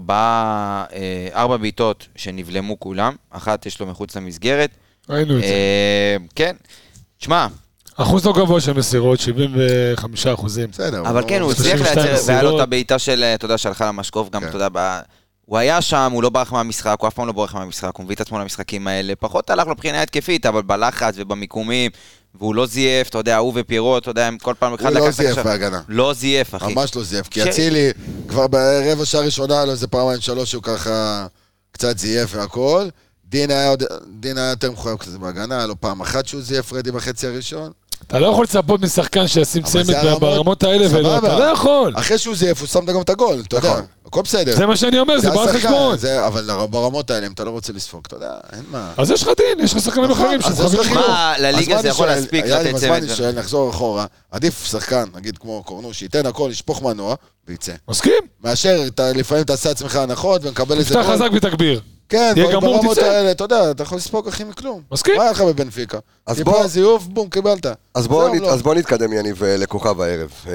ארבעה, אה, ארבע בעיטות שנבלמו כולם, אחת יש לו מחוץ למסגרת. ראינו את זה. אה, כן, תשמע, אחוז לא גבוה של מסירות, 75 אחוזים. בסדר. לא אבל כן, הוא הצליח 32 לייצר, והיה לו את מסירות. הבעיטה של, אה, אתה יודע, שהלכה למשקוף גם, כן. אתה יודע, ב- הוא היה שם, הוא לא ברח מהמשחק, הוא אף פעם לא בורח מהמשחק, הוא מביא את עצמו למשחקים האלה, פחות הלך לו מבחינה התקפית, אבל בלחץ ובמיקומים, והוא לא זייף, אתה יודע, הוא ופיירו, אתה יודע, הם כל פעם הוא אחד לא לקח את זייף הקשר. בהגנה. לא זייף, אחי. ממש לא זייף, כי שרי. אצילי כבר ברבע שעה ראשונה, לא איזה פעמיים שלוש, הוא ככה קצת זייף והכל. דין היה עוד- דין היה יותר מחויב כזה בהגנה, היה לו פעם אחת שהוא זייף רדי בחצי הראשון. אתה לא יכול לצפות משחקן שישים אבל צמד זה הרמות- ברמות האלה, ולא, סבבה. אתה לא יכול. אחרי שהוא זייף, הוא שם גם את הגול, אתה יודע, הכל בסדר. נכון. זה מה שאני אומר, זה בא על השחקן, חשבון. זה- אבל לר- ברמות האלה, אם אתה לא רוצה לספוג, אתה יודע, אין מה. אז יש לך דין, יש לך שחקנים נכון, אחרים אז יש לך שמוכנים לחילוף. חילוף. מה, לליגה אז זה אני יכול שואל, להספיק יאללה, לתת אז מה אני צמד ו- שואל, נחזור אחורה, עדיף שחקן, נגיד כמו קורנוש, שייתן הכל, ישפוך מנוע, ויצא. מסכים? מאשר, אתה לפעמים תעשה עצמך הנחות ומקבל איזה תפתח חזק ותגביר. כן, תהיה אבל גמור, ברמות תצא. האלה, אתה יודע, אתה יכול לספוג הכי מכלום. מסכים. מה היה לך בבנפיקה? אז בוא- טיפה זיוף, בום, קיבלת. אז בואו זהו, נת- לא. אז בואו נתקדם, יניב, אה, לכוכב הערב. אה,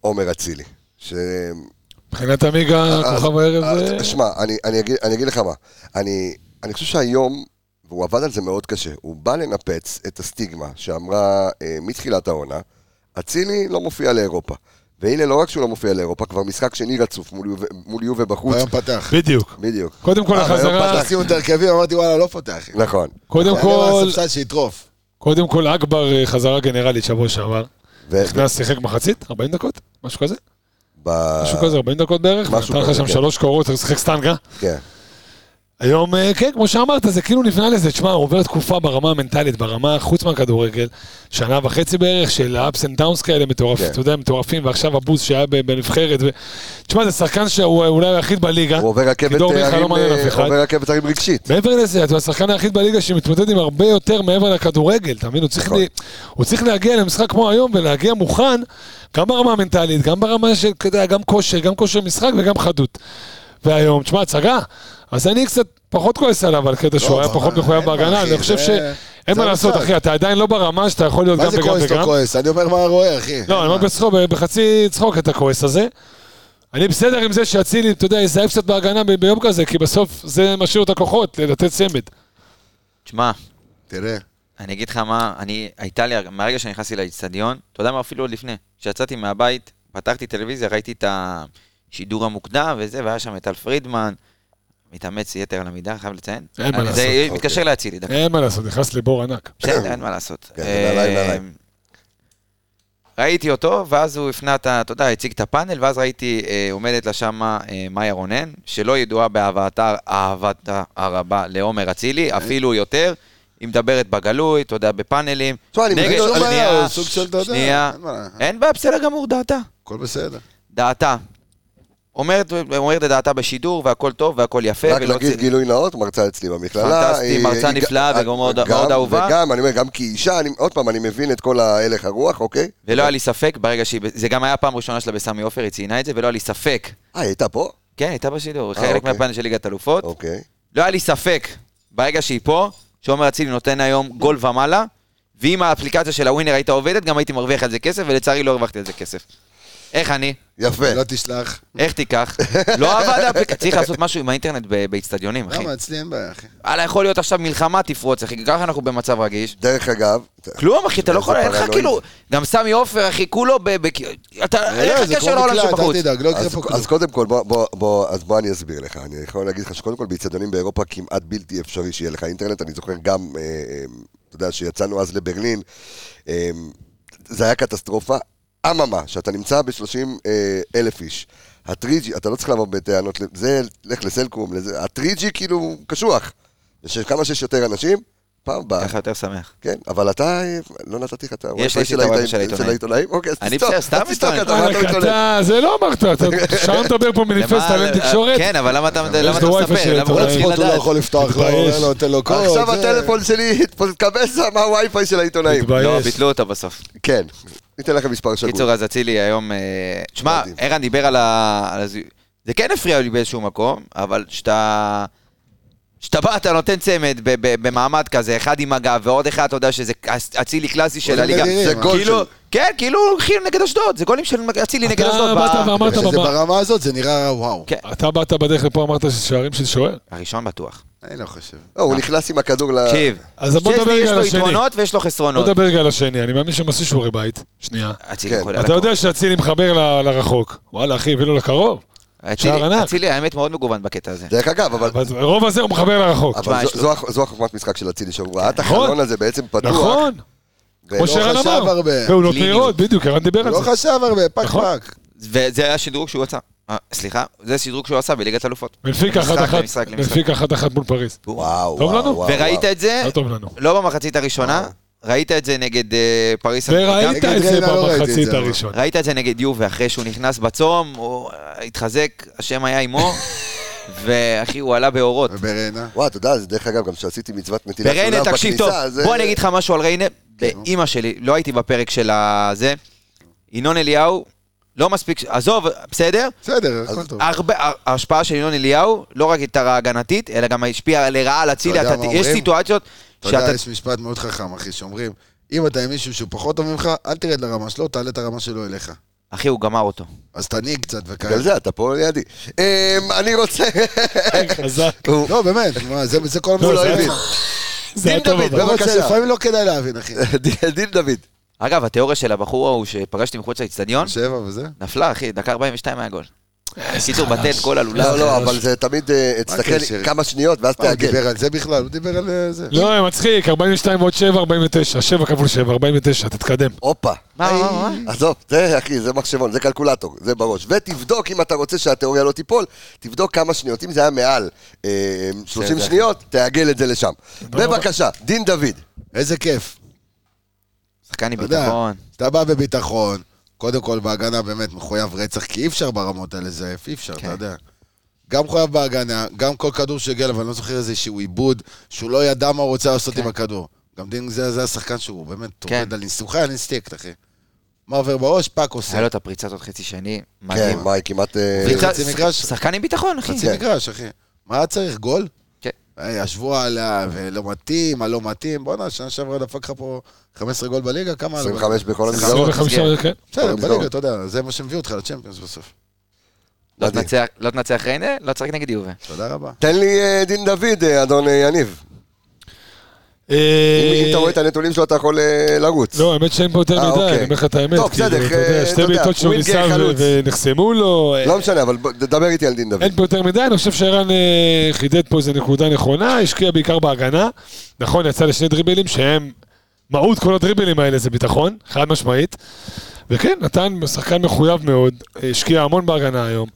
עומר אצילי. ש- מבחינת עמיגה, אה, אז- אה, כוכב הערב אה? אז- זה... שמע, אני, אני, אגיד, אני אגיד לך מה, אני, אני חושב שהיום, והוא עבד על זה מאוד קשה, הוא בא לנפץ את הסטיגמה שאמרה אה, מתחילת העונה, אצילי לא מופיע לאירופה. והנה, לא רק שהוא לא מופיע לאירופה, כבר משחק שני רצוף מול, יובה- מול יובה בחוץ. אה? והיום פתח. בדיוק. בדיוק, קודם כל אה, החזרה, והיום פתח, עשינו את ההרכבים, אמרתי וואלה, לא פותח. נכון. קודם היה כל, לי ספסל שיטרוף. קודם כל אכבר אה, חזרה גנרלית שבוע כן, שעבר. ו- נכנס, שיחק מחצית, 40 דקות, משהו כזה. ב- אה, משהו כזה, 40 דקות בערך. משהו נתן לך כזה, שם כן. שלוש קורות, שיחק סטנגה. כן. אה, היום, אה, כן, כמו שאמרת, זה כאילו נבנה לזה. תשמע, הוא עובר תקופה ברמה המנטלית, ברמה חוץ מהכדורגל, שנה וחצי בערך של ups and downs כאלה מטורפים, כן. אתה יודע, מטורפים, ועכשיו הבוז שהיה ב- בנבחרת. ו- תשמע, זה שחקן שהוא אה, אולי היחיד בליגה. הוא עובר רכבת כי דור מיכה הרים, לא מעניין אה, אף אחד. עובר רכבת הרים רגשית. מעבר לזה, אתה השחקן היחיד בליגה שמתמודד עם הרבה יותר מעבר לכדורגל, אתה מבין? הוא צריך, נכון. לי, הוא צריך להגיע למשחק כמו היום ולהגיע מוכן, גם ברמה המנטלית, גם ברמה של, אתה יודע, גם כושר, גם כושר משחק וגם חדות. והיום, תשמע, הצגה. אז אני קצת פחות כועס עליו על קטע שהוא היה אבל פחות מחויב לא, אין מה, בהגנה, אחי, אני חושב זה- ש... אין זה מה לעשות, המשחק. אחי, אתה עדיין לא ברמה שאתה יכול להיות גם מה זה וגם כועס לא וגם. כועס? אני אומר מה רואה, אחי. לא, אני אומר בצחוק, בחצי צחוק את הכועס הזה. אני בסדר עם זה שאצילי, אתה יודע, יזהב קצת בהגנה ב- ביום כזה, כי בסוף זה משאיר את הכוחות לתת צמד. תשמע, תראה. אני אגיד לך מה, אני, הייתה לי, מהרגע שנכנסתי לאצטדיון, אתה יודע מה, אפילו עוד לפני, כשיצאתי מהבית, פתחתי טלוויזיה, ראיתי את השידור המוקדם וזה, והיה שם את טל פרידמן, מתאמץ יתר על המידה, חייב לציין. אין מה אני- לעשות, זה אוקיי. מתקשר להצילי, דקה. אין מה לעשות, נכנס לבור ענק. בסדר, אין מה לעשות. כן, זה עליי, זה עליי. אמ, ראיתי אותו, ואז הוא הפנה את ה... אתה יודע, הציג את הפאנל, ואז ראיתי אה, עומדת לה שמה אה, מאיה רונן, שלא ידועה באהבתה אהבתה הרבה לעומר אצילי, אפילו יותר. היא מדברת בגלוי, אתה יודע, בפאנלים. תשמע, אני מבין, נגד- לא אין בעיה, שנייה, הוא סוג של, אתה יודע, שנייה. אין מה, אין בעיה, בסדר גמור, דעתה. הכל בסדר. דעתה. אומרת אומרת את דעתה בשידור, והכל טוב, והכל יפה. רק ולא להגיד צ- גילוי נאות, מרצה אצלי במכללה. פנטסטי, היא- מרצה היא- אה, נפלאה גם- וגם מאוד- מאוד אהובה. וגם, אני אומר, גם כאישה, אני- עוד פעם, אני מבין את כל ההלך הרוח, אוקיי? ולא היה לי ספק, ברגע שהיא... זה גם היה הפעם הראשונה שלה בסמי עופר, היא ציינה את זה, ולא היה לי ספק אה, היא הייתה פה? כן, הייתה בשידור, אה, חלק אוקיי. מהפאנל של ליגת אלופות. אוקיי. לא היה לי ספק, ברגע שהיא פה, שעומר אצילי נותן היום גול ומעלה, ואם האפליקציה של הווינר הייתה עובדת, גם הייתי מרוויח על זה כסף, ולצערי לא הרווחתי על זה כסף. איך אני? יפה. לא תשלח. איך תיקח? לא עבד האפליקציה, צריך לעשות משהו עם האינטרנט ב- באיצטדיונים, אחי. אה, למה? לא, אצלי אין בעיה, אחי. וואלה, יכול להיות עכשיו מלחמה תפרוץ, אחי, ככה אנחנו במצב רגיש. דרך אגב, כלום, אחי, אתה לא איזה יכול, אין לך פרנואיד. כאילו, גם סמי עופר, אחי, כולו ב... ב- לא, אתה, אין לך קשר לעולם שבחוץ. אל תדאג, לא יקרה אז, פה כלום. אז קודם כל, בוא, בוא, בוא, אז בוא אני אסביר לך. אני יכול להגיד לך שקודם כל באיצטדיונים באירופה כמעט בלתי אפשרי שיהיה לך אינטרנט. אני זוכר גם, אה, אה, אתה יודע, שיצאנו אז לברלין, אה, זה היה קטסטרופה. אממה, שאתה נמצא ב-30 אה, אלף איש. הטריג'י, אתה לא צריך לבוא בטענות, זה, לך לסלקום, לזה, הטריג'י כאילו קשוח. כמה שיש יותר אנשים, פעם הבאה. ככה יותר שמח. כן, אבל אתה, אה, לא נתתי לך את לי הווי-פיי את הווי-פיי של העיתונאים. העיתונאים. אוקיי, אז אני תסתום, בסדר, סתם אז תסתום, אתה- עיתונאים. מה אתה וואלכ, מתלונן? אתה, זה לא אמרת, אתה שעה מדבר פה מניפסט למה- עליהם תקשורת? כן, אבל למה אתה למה יש אתה לו ווי-פיי מספר? של למה כולם צריכים הוא לא לדעת? יכול לפתוח, לא מתבייש. עולה לו, נותן לו קוד. עכשיו זה- הטלפון שלי התקבץ מהווי-פיי של העיתונאים. לא, מתבייש. ביטלו אותו בסוף. כן, ניתן לכם מספר שגוי. קיצור, אז אצילי היום... אה, תשמע, מדהים. ערן דיבר על ה... על הז- זה כן הפריע לי באיזשהו מקום, אבל כשאתה... כשאתה בא, אתה נותן צמד ב- ב- במעמד כזה, אחד עם הגב ועוד אחד, אתה יודע שזה אצ- אצילי קלאסי של זה הליגה. נדירים, זה אה? גול כאילו, של- כן, כאילו, כאילו נגד אשדוד, זה גולים של אצילי נגד אתה אשדוד. באת ב- ואמרת כשזה בבא. ברמה הזאת, זה נראה וואו. כן. אתה באת בדרך לפה, אמרת ששערים של שוער. הראשון בטוח. אני לא חושב. לא, הוא נכנס עם הכדור ל... תקשיב, אז בוא נדבר שסטי יש רגע על לו השני. יתרונות ויש לו בוא חסרונות. נדבר רגע על השני, אני מאמין שהם עשו שיעורי בית. שנייה. אצילי כן. יכול... אתה יודע שאצילי מחבר ל- לרחוק. וואלה, אחי, הביא לו לקרוב. שער ענק. אצילי, האמת, מאוד מגוון בקטע הזה. דרך אגב, אבל... אבל רוב הזה הוא מחבר לרחוק. אבל תשמע, זו- יש לו- זו הח- זו החוכמת משחק של אצילי, שהוא ראה את החלון נכון. הזה בעצם פתוח. נכון, ולא- כמו שרן לא חשב אמר. הרבה. פעולות קליניות. מהירות, בדיוק, ערן דיבר הוא על לא זה. חשב הרבה, פק נכון. פק. וזה היה שדרוג שהוא עשה. אה, סליחה, זה שדרוג שהוא עשה בליגת אלופות. בנפיקה משחק אחת למשחק אחת, למשחק. בנפיקה אחת אחת מול פריז. וואו, טוב וואו, לנו? וואו. וראית את זה, לא טוב לנו. לא במחצית הראשונה, ראית את זה נגד אה, פריס. גם- וראית נגד את זה ריינה לא ראיתי את במחצית זה, אבל. הראשונה. ראית את זה נגד יובה, אחרי שהוא נכנס בצום, הוא אה, התחזק, השם היה עמו, ואחי, הוא עלה באורות. אה, ובריינה. וואו, אתה יודע, זה דרך אגב, גם כשעשיתי מצוות נטילת וריינה, סולם תקשיב טוב, בכניסה, זה- כן. בוא אני אגיד לך משהו על ריינה. באימא שלי, לא הייתי בפרק של הזה. ינון אליהו, לא מספיק, ש- עזוב, בסדר? בסדר, הכל טוב. הרבה, הר- ההשפעה של ינון אליהו, לא רק הייתה רעה הגנתית, אלא גם השפיעה לרעה על אצילי. אתה יודע אתה- מה יש אומרים? סיטואציות אתה יודע, שאתה... יש משפט מאוד חכם, אחי, שאומרים, אם אתה עם מישהו שהוא פחות טוב ממך, אל תרד לרמה שלו, תעלה את הרמה שלו אליך. אחי, הוא גמר אותו. אז תנהיג קצת וכאלה. בגלל זה אתה פה לידי. אמ, אני רוצה... חזק. הוא- לא, באמת, מה, זה זה כל הוא לא המשחק. הבין. זה היה דין טוב דוד, אבל. לא רוצה, בבקשה. לפעמים לא כדאי להבין, אחי. דין דוד. אגב, התיאוריה של הבחור ההוא שפגשתי מחוץ לאצטדיון, שבע וזה. נפלה, אחי, דקה 42 היה גול. אה, קיצור, בטל כל הלולב. לא, לא, אבל זה תמיד אה, הקשר? תסתכל כמה שניות ואז מה, הוא תעגל. דיבר על זה בכלל? הוא דיבר על אה, זה. לא, מצחיק, 42 ועוד 7, 49. 7 כפול 7, 49, תתקדם. הופה. מה, אה, מה, מה? עזוב, לא, זה אחי, זה מחשבון, זה קלקולטור, זה בראש. ותבדוק, אם אתה רוצה שהתיאוריה לא תיפול, תבדוק כמה שניות. אם זה היה מעל אה, 30 בסדר. שניות, תעגל את זה לשם. בבקשה, דין דוד. איזה כיף. שחקן עם אתה יודע, ביטחון. אתה בא בביטחון, קודם כל בהגנה באמת מחויב רצח, כי אי אפשר ברמות האלה לזייף, כן. אי אפשר, אתה יודע. גם מחויב בהגנה, גם כל כדור שהגיע אליו, אני לא זוכר איזה שהוא עיבוד, שהוא לא ידע מה הוא רוצה לעשות עם הכדור. גם דין זה זה השחקן שהוא באמת כן. עובד על ניסוחי אינסטינקט, אחי. מה עובר בראש, פאק היה לו עושה. את הפריצת עוד חצי שני, כן, מדהים. וואי, כמעט... אה, פריצה- חצי מגרש. שחקן עם ביטחון, אחי. חצי מגרש, אחי. מה היה צריך, גול? כן. אה, ישבו עליו, אה, לא מתאים, הלא מתאים. בואנה, שנה שעברה דפק לך פה 15 גול בליגה, כמה? 25 בכל המסגרות. 25, כן. בסדר, בכל בליגה, המסגרות. אתה יודע, זה מה שמביא אותך לצ'מפיונס בסוף. לא מדהים. תנצח- לא תנצח ריינה, לא תשחק נגד יובה. תודה רבה. תן לי אה, דין דוד, אה, אדון אה, יניב. אם אם אתה רואה את הנתונים שלו, אתה יכול אה, לרוץ. אה, לא, האמת שאין פה יותר אה, מדי, אוקיי. אני אומר לך את האמת. טוב, כאילו, בסדר, אתה אה, יודע, אתה שתי יודע, בעיטות שהוא ווינגר, ניסה ו- חלוץ. ונחסמו לו. אה, לא משנה, אבל ב- דבר איתי על דין דוד. אין פה יותר מדי, אני חושב שערן אה, חידד פה איזה נקודה נכונה, השקיע בעיקר בהגנה. נכון, יצא לשני דריבלים שהם... מהות כל הדריבלים האלה זה ביטחון, חד משמעית. וכן, נתן שחקן מחויב מאוד, אה, השקיע המון בהגנה היום.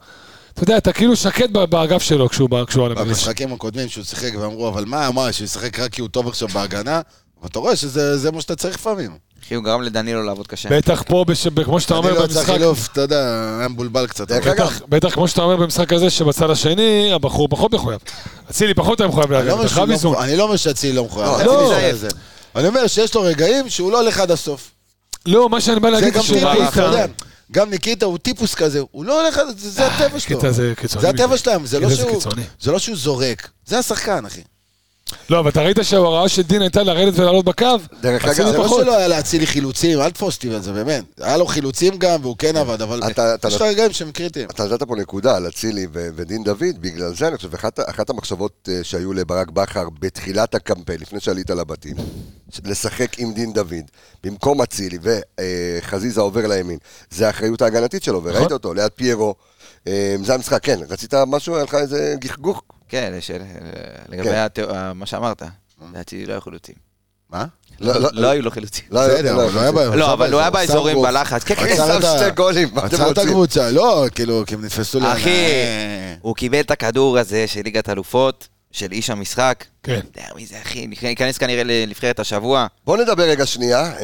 אתה יודע, אתה כאילו שקט ב- באגף שלו כשהוא בא- כשהוא על המגרש. במשחקים הקודמים שהוא שיחק ואמרו, אבל מה, מה, שהוא ישחק רק כי הוא טוב עכשיו בהגנה? אבל אתה רואה שזה זה מה שאתה צריך לפעמים. אחי, הוא גרם לדנילו לעבוד קשה. בטח פה, בש- כמו שאתה כן. אני אומר לא יצא במשחק, חילוף, אתה יודע, היה מבולבל קצת. אבל- דרך אגב, בטח- בטח כמו שאתה אומר במשחק הזה, שבצד השני הבחור פחות מחויב. אצילי פחות היה מחויב אני לא להגן, אומר אתה שהוא חייב לא איזון. מחויב, אני לא אומר שאצילי לא מחויב. לא, אני לא. חושב שזה. אני אומר שיש לו רגעים שהוא לא הולך עד הסוף. לא, מה שאני בא זה להגיד גם שהוא טיפוס, אתה ראה- יודע. גם ניקיטה הוא טיפוס כזה, הוא לא הולך עד... זה זה הטבע שלו. קיטה זה קיצוני. זה הטבע שלהם, זה לא קיטה זה שהוא- קיצוני. זה לא שהוא זורק. זה השחקן, אחי. לא, אבל אתה ראית שההוראה של דין הייתה לרדת ולעלות בקו? דרך אצילי אגב, זה לא פחות. שלא היה להצילי חילוצים, אל תפוס אותי על זה, באמת. היה לו חילוצים גם, והוא כן עבד, אבל אתה- אתה יש לך לא- רגעים שהם קריטיים. אתה נתת פה נקודה על אצילי ו- ודין דוד, בגלל זה אני חושב, אחת, אחת המחשבות אה, שהיו לברק בכר בתחילת הקמפיין, לפני שעלית לבתים, ש- לשחק עם דין דוד, במקום אצילי וחזיזה עובר לימין, זה האחריות ההגנתית שלו, וראית נכון. אותו ליד פיירו, אה, זה המשחק, כן, רצית משהו, היה לך איזה גחגוך? כן, לשאל- אה, לגבי כן. התא- אה, מה שאמרת, לדעתי לא היו חילוצים. מה? לא, לא, לא היו לו חילוצים. לא, בסדר, אבל לא היה בעיה. לא, אבל הוא היה באזור, באזורים, שם גול. בלחץ. כן, כן, כן. עצר שם את ה- שתי גולים, מה אתם עצר את רוצים? הקבוצה, לא, כאילו, כי הם נתפסו ל... אחי. אה, הוא קיבל את הכדור הזה של ליגת אלופות, של איש המשחק. כן. אתה יודע מי זה, אחי? נכ- ניכנס כנראה לנבחרת השבוע. בואו נדבר רגע שנייה אה,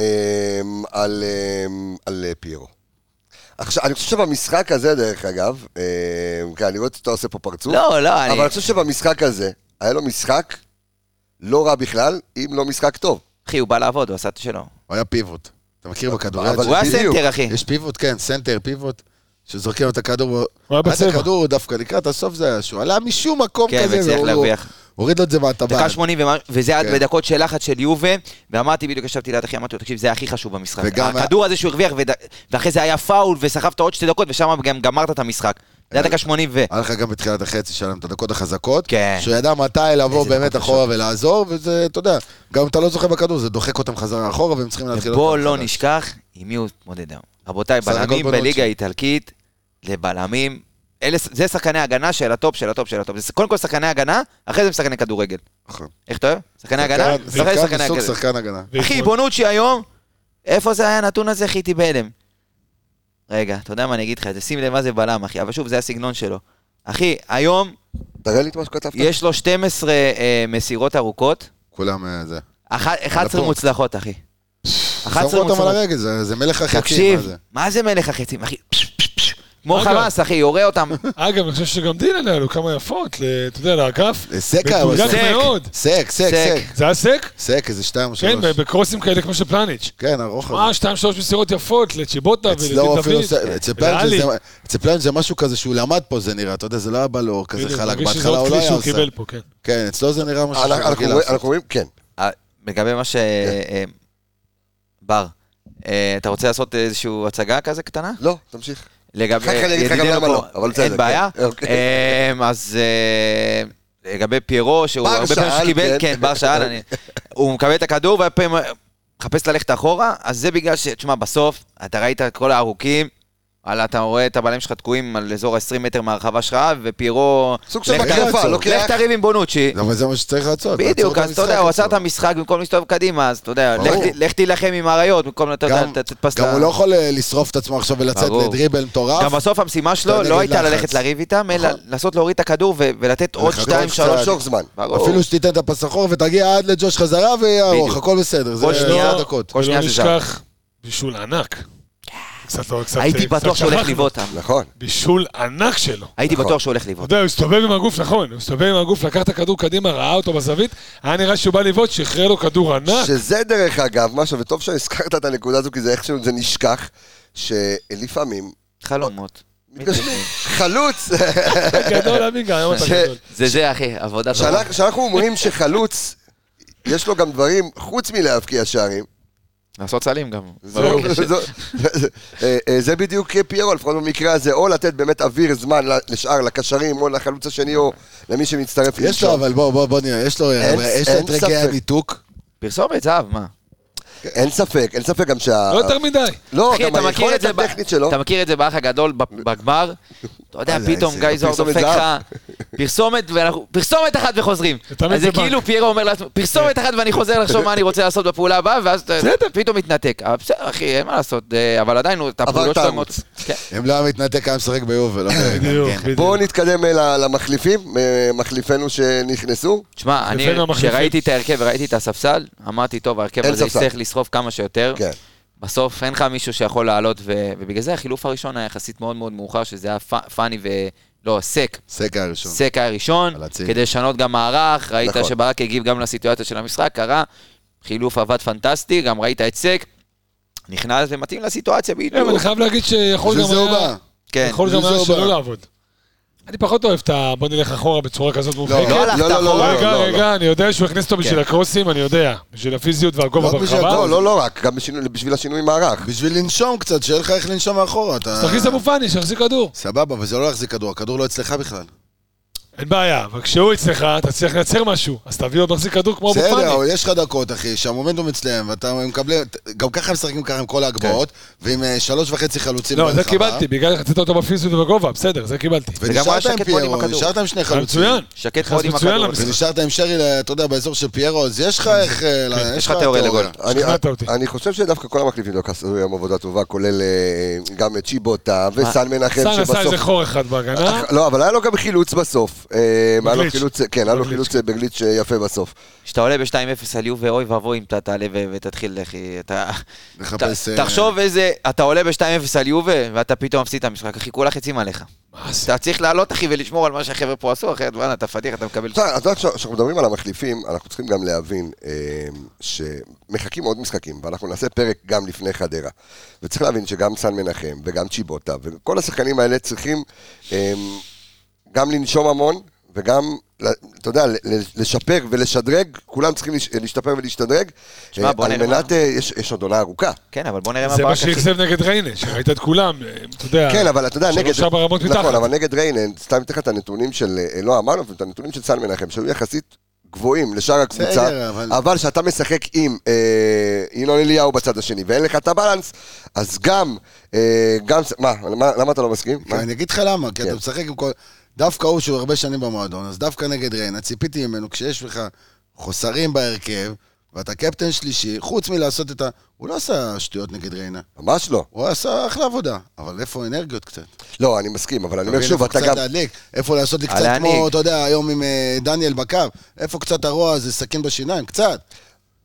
על, אה, על אה, פיירו. עכשיו, אני חושב שבמשחק הזה, דרך אגב, אה, כן, אני רואה שאתה עושה פה פרצוף. לא, לא, אבל אני... אני חושב שבמשחק הזה, היה לו משחק לא רע בכלל, אם לא משחק טוב. אחי, הוא בא לעבוד, הוא עשה את שלו. הוא היה פיבוט. אתה מכיר בכדוריד? אבל הוא היה בדיוק. סנטר, אחי. יש פיבוט, כן, סנטר, פיבוט, שזורקים את הכדור. היה עד בצבע. הכדור דווקא לקראת הסוף זה היה שהוא עלה משום מקום כן, כזה, והצליח והוא- להרוויח. הוריד לו את זה מהטבעת. דקה 80, ומה- וזה היה כן. בדקות של לחץ של יובה, ואמרתי, בדיוק ישבתי ליד אחי, אמרתי לו, תקשיב, זה היה הכי חשוב במשחק. וגם- הכדור הזה שהוא הרוויח, וד- ואחרי זה היה פאול, וסחבת עוד שתי דקות, ושם גם גמרת את המשחק. זה היה דקה 80 ו... היה לך גם בתחילת החצי שלהם את הדקות החזקות. כן. שהוא ידע מתי לבוא איזה באמת דקות אחורה ולעזור, וזה, אתה יודע, גם אם אתה לא זוכה בכדור, זה דוחק אותם חזרה אחורה, והם צריכים להתחיל... בוא אותם לא מחדש. נשכח עם מי הוא התמודד היום. רבותיי, בסך הכל בלמים בנוצ'י. בליגה האיטלקית, לבלמים, אלה, זה שחקני הגנה של הטופ, של הטופ, של הטופ. זה קודם כל שחקני הגנה, אחרי זה משחקני כדורגל. נכון. איך אתה אוהב? שחקני הגנה, שחקן- אחרי זה שחקן שחקני מסוג הגנה. שחקן הגנה. אחי, בונוצ'י היום, איפה זה היה הנתון הזה? איך הייתי בהלם. רגע, אתה יודע מה אני אגיד לך? זה שים לב מה זה בלם, אחי. אבל שוב, זה הסגנון שלו. אחי, היום תראה לי את מה שכתבת. יש לו 12 אה, מסירות ארוכות, כולם אה, זה. אחת- 11 הפורט. מוצלחות, אחי. 11 שמו אותם על מוצלחות. הרגל, זה זה מלך החצי. תקשיב, מה זה מלך החצים, אחי? פש, פש, פש. כמו אוקיי. אגב. חמאס, אחי, יורה אותם. אגב, אני חושב שגם דין עליה לו כמה יפות, ל- אתה יודע, לאגף. סקה, אבל מתורגל אה, סק. מאוד. סק, סק, סק. סק. זה היה סק? סק, איזה שתיים או כן, שלוש. בקרוסים כאלה כמו של פלניץ'. כן, ארוך. הזה. מה, שתיים, שלוש מסירות יפות לצ'יבוטה ולדין אצלו אפילו, דוד. זה- אצל פלנג' ולעלי. זה- אצל פלנג' זה משהו כזה שהוא למד פה, זה נראה, אתה יודע, זה לא היה בא לו כזה בדיוק, חלק, מרגיש שזה בהתחלה עוד הוא לא כלי היה שהוא עושה. קיבל פה, כן. כן, אצלו זה נראה משהו אנחנו- אנחנו רגיל רואים- לעשות. אנחנו רואים, כן. אה, לגבי מה ש... אה, בר, אה, אתה רוצה לעשות איזושהי הצגה כזה קטנה? לא, תמשיך. לגבי אחר כך אני אגיד לך גם ידידנו למה פה, לא, אבל בסדר, אין כן. בעיה. אוקיי. אה, אז אה, לגבי פיירו, שהוא בר הרבה פעמים שאל, שקיבל, כן. כן, בר שאל, אני- הוא מקבל את הכדור והרבה פעמים מחפש ללכת אחורה, אז זה בגלל ש... תשמע, בסוף, אתה ראית את כל הארוכים, על אתה רואה את הבלמים שלך תקועים על אזור ה-20 מטר מהרחבה שלך, ופיירו... סוג של לא לך ת- מקרפה, לוקח- אוקיי, לך תריב עם בונוצ'י. אבל זה מה שצריך לעשות. לעצור בדיוק, את אז אתה יודע, המשחק הוא עצר אצלו. את המשחק במקום להסתובב קדימה, אז אתה יודע, ברור. לך ת- לך תילחם עם האריות במקום לתת גם- לתפס את גם ה... הוא לא יכול אה, לשרוף את עצמו עכשיו ולצאת ברור. לדריבל מטורף. גם בסוף המשימה שלו אתה לא נגד הייתה לחץ. ללכת לריב איתם, אלא נכון. לנסות להוריד את הכדור ו- ולתת עוד לחכות שתיים, קצת. שלוש... למשוך זמן. ברור. אפילו שתיתן את הפס אחורה ותגיע עד לג'וש חזרה ויהיה ארוך, בדיוק. הכל בסדר. זה כל שנייה- שתי דקות. כל ולא שנייה זה זר. לא, נשכח, בישול ענק. קצת לא, קצת... הייתי קצת בטוח שהוא הולך שכחנו. לבעוט אותם. נכון. בישול ענק שלו. הייתי נכון. בטוח שהוא הולך אתה לבעוט. יודע, הוא הסתובב עם הגוף, נכון, הוא הסתובב עם הגוף, לקח את הכדור קדימה, ראה אותו בזווית, היה נראה שהוא בא לבעוט, שחרר לו כדור ענק. שזה דרך אגב משהו, וטוב שהזכרת את הנקודה הזו, כי זה איכשהו זה נשכח, שלפעמים חלומות. מתגשמים. חלוץ, גדול, עמי, גם היום אתה ש- גדול. זה זה, אחי, עבודה טובה. שאנחנו- שאנחנו אומרים שחלוץ, יש לו גם דברים, חוץ מלהבקיע שערים, לעשות סלים גם. זהו, זו- אה, אה, זה בדיוק פיירו, לפחות במקרה הזה, או לתת באמת אוויר זמן ל- לשאר, לקשרים, או לחלוץ השני, או למי שמצטרף יש לו, אבל בוא, בוא, בוא נראה, יש לו, אין- חבר'ה, יש לו אין את רגעי ספק. הניתוק. פרסומת זהב, מה? אין ספק, אין ספק גם שה... לא יותר מדי. לא, אחי, גם אתה מכיר את היכולת זה ב- הטכנית שלו. אה, אתה מכיר את זה באח הגדול ב- בגמר? אתה יודע, זה- פתאום זה גיא זוהר פרסומת דופק זהב. לך פרסומת, ואנחנו... פרסומת אחת וחוזרים. זה תמיד אז זה זה בנק. כאילו פיירו אומר לעצמו, כן. פרסומת אחת ואני חוזר לחשוב מה אני רוצה לעשות בפעולה הבאה, ואז אתה- פתאום מתנתק. אבל בסדר, אחי, אין מה לעשות, אה, אבל עדיין, הוא- את הפעולות שלו... טעם. מאוד- כן. אם לא היה מתנתק, היה משחק ביובל. לא ב- בדיוק, בדיוק. בואו נתקדם אל- למחליפים, אה, מחליפינו שנכנסו. תשמע, אני, לבין המחליפים. כשראיתי את ההרכב וראיתי את הספסל, אמרתי, טוב, ההרכב אין הזה ספסל. יצטרך לסחוב כמה שיותר. כן. בסוף אין לך מישהו שיכול לעלות, ו... ובגלל זה החילוף הראשון היה יחסית מאוד מאוד מאוחר, שזה היה פ... פאני ו... לא, סק. סקה הראשון. סק היה ראשון, על הציר. כדי לשנות גם מערך, ראית נכון. שברק הגיב גם לסיטואציה של המשחק, קרה, חילוף עבד פנטסטי, גם ראית את סק, נכנס ומתאים לסיטואציה כן, אבל נכון. אני בדיוק. חייב להגיד שיכול בשביל גם זה הוא היה... בא. כן. יכול גם בשביל היה זה הוא שלא בא. לעבוד. אני פחות אוהב את ה... בוא נלך אחורה בצורה כזאת מובהקת. אה, לא הלכת אחורה. רגע, לא. רגע, אני יודע שהוא הכניס אותו בשביל הקרוסים, אני יודע. בשביל הפיזיות והגובה לא בשביל ברחבה. לא, לא, לא רק, גם בשינוי- בשביל השינוי מערך. בשביל לנשום קצת, שיהיה לך איך לנשום מאחורה. אתה- אז תכניס אבו פאני, שיחזיק כדור. סבבה, אבל זה לא להחזיק כדור, הכדור לא אצלך בכלל. אין בעיה, אבל כשהוא אצלך, אתה צריך לייצר משהו. אז תביא עוד מחזיק כדור כמו אבו בסדר, פאני. אבל יש לך דקות, אחי, שהמומנטום אצלם, ואתה מקבל... גם ככה הם משחקים ככה עם כל ההגבהות, כן. ועם אה, שלוש וחצי חלוצים. לא, זה ברחבה. קיבלתי, בגלל שחצית אותו בפיזיות ובגובה, בסדר, זה קיבלתי. וגם היה ונשארת עם שקט מאוד עם פיירו, הכדור. נשארת עם שני היה חלוצים. מצוין. שקט נכנס מאוד עם מצוין הכדור. למשחק. ונשארת עם שרי, אה, אתה יודע, באזור של פיירו, אז יש לך איך... אה, לה- כן, יש לך תיאוריה לגול. אני- שכנעת אותי. אני חושב שדווקא כל המחליפים לא עשו היום עבודה טובה, כולל אה, גם את צ'יבוטה וסן מנחם, סאן עשה כן, שבסוף... איזה חור אחד בהגנה. אך- לא, אבל היה לו גם חילוץ בסוף. אה, היה לו בגליץ'. חילוץ, כן, היה לו בגליץ'. חילוץ אה, בגליץ' אה, יפה בסוף. כשאתה עולה ב-2-0 על יובה, אוי ואבוי אם אתה תעלה ו- ותתחיל, אחי, אתה... ת- לחפש, אה, תחשוב איזה... אתה עולה ב-2-0 על יובה, ואתה פתאום מפסיד את המשחק, אחי, כולה חצים עליך. מה זה? אתה צריך לעלות, אחי, ולשמור על מה שהחבר'ה פה עשו, אחרת, וואלה, אתה פדיח, אתה מקבל... עכשיו, אז רק כש- כשאנחנו מדברים על המחליפים, אנחנו צריכים גם להבין אה, שמחכים עוד משחקים, ואנחנו נעשה פרק גם לפני חדרה. וצריך להבין שגם סן מנחם וגם צ'יבוטה, וכל השחקנים האלה צריכים אה, גם לנשום המון, וגם, ל- אתה יודע, ל- ל- לשפר ולשדרג, כולם צריכים לש- להשתפר ולהשתדרג. שמע, אה, בוא על נראה מנת, אה, יש יש עוד עונה ארוכה. כן, אבל בוא נראה מה זה ברק, מה אחי. שאכזב נגד ריינה, שראית את כולם, אה, אתה יודע. כן, אבל אתה יודע, נגד... שלושה ברמות מתחת. נכון, אבל נגד ריינן, סתם אתן לך את הנתונים של... אה, לא אמרנו, אבל את הנתונים של סל מנחם, שהיו יחסית גבוהים לשאר הקבוצה. בסדר, אבל... אה, אבל כשאתה משחק עם אה, ינון אליהו בצד השני, ואין לך את הבלנס, אז גם... אה, גם... מה, למה- למה אתה לא מסכים? כן, מה? אני אגיד לך למה, כי כן. אתה משחק עם כל... דווקא הוא, שהוא הרבה שנים במועדון, אז דווקא נגד ריינה, ציפיתי ממנו, כשיש לך חוסרים בהרכב, ואתה קפטן שלישי, חוץ מלעשות את ה... הוא לא עשה שטויות נגד ריינה, ממש לא. הוא עשה אחלה עבודה, אבל איפה האנרגיות קצת? אתה לא, אני מסכים, אבל אני אומר מבין? שוב, איפה אתה קצת גם... להדליק, איפה לעשות לי קצת להנהיג. כמו, אתה יודע, היום עם אה, דניאל בקו, איפה קצת הרוע הזה, סכין בשיניים, קצת.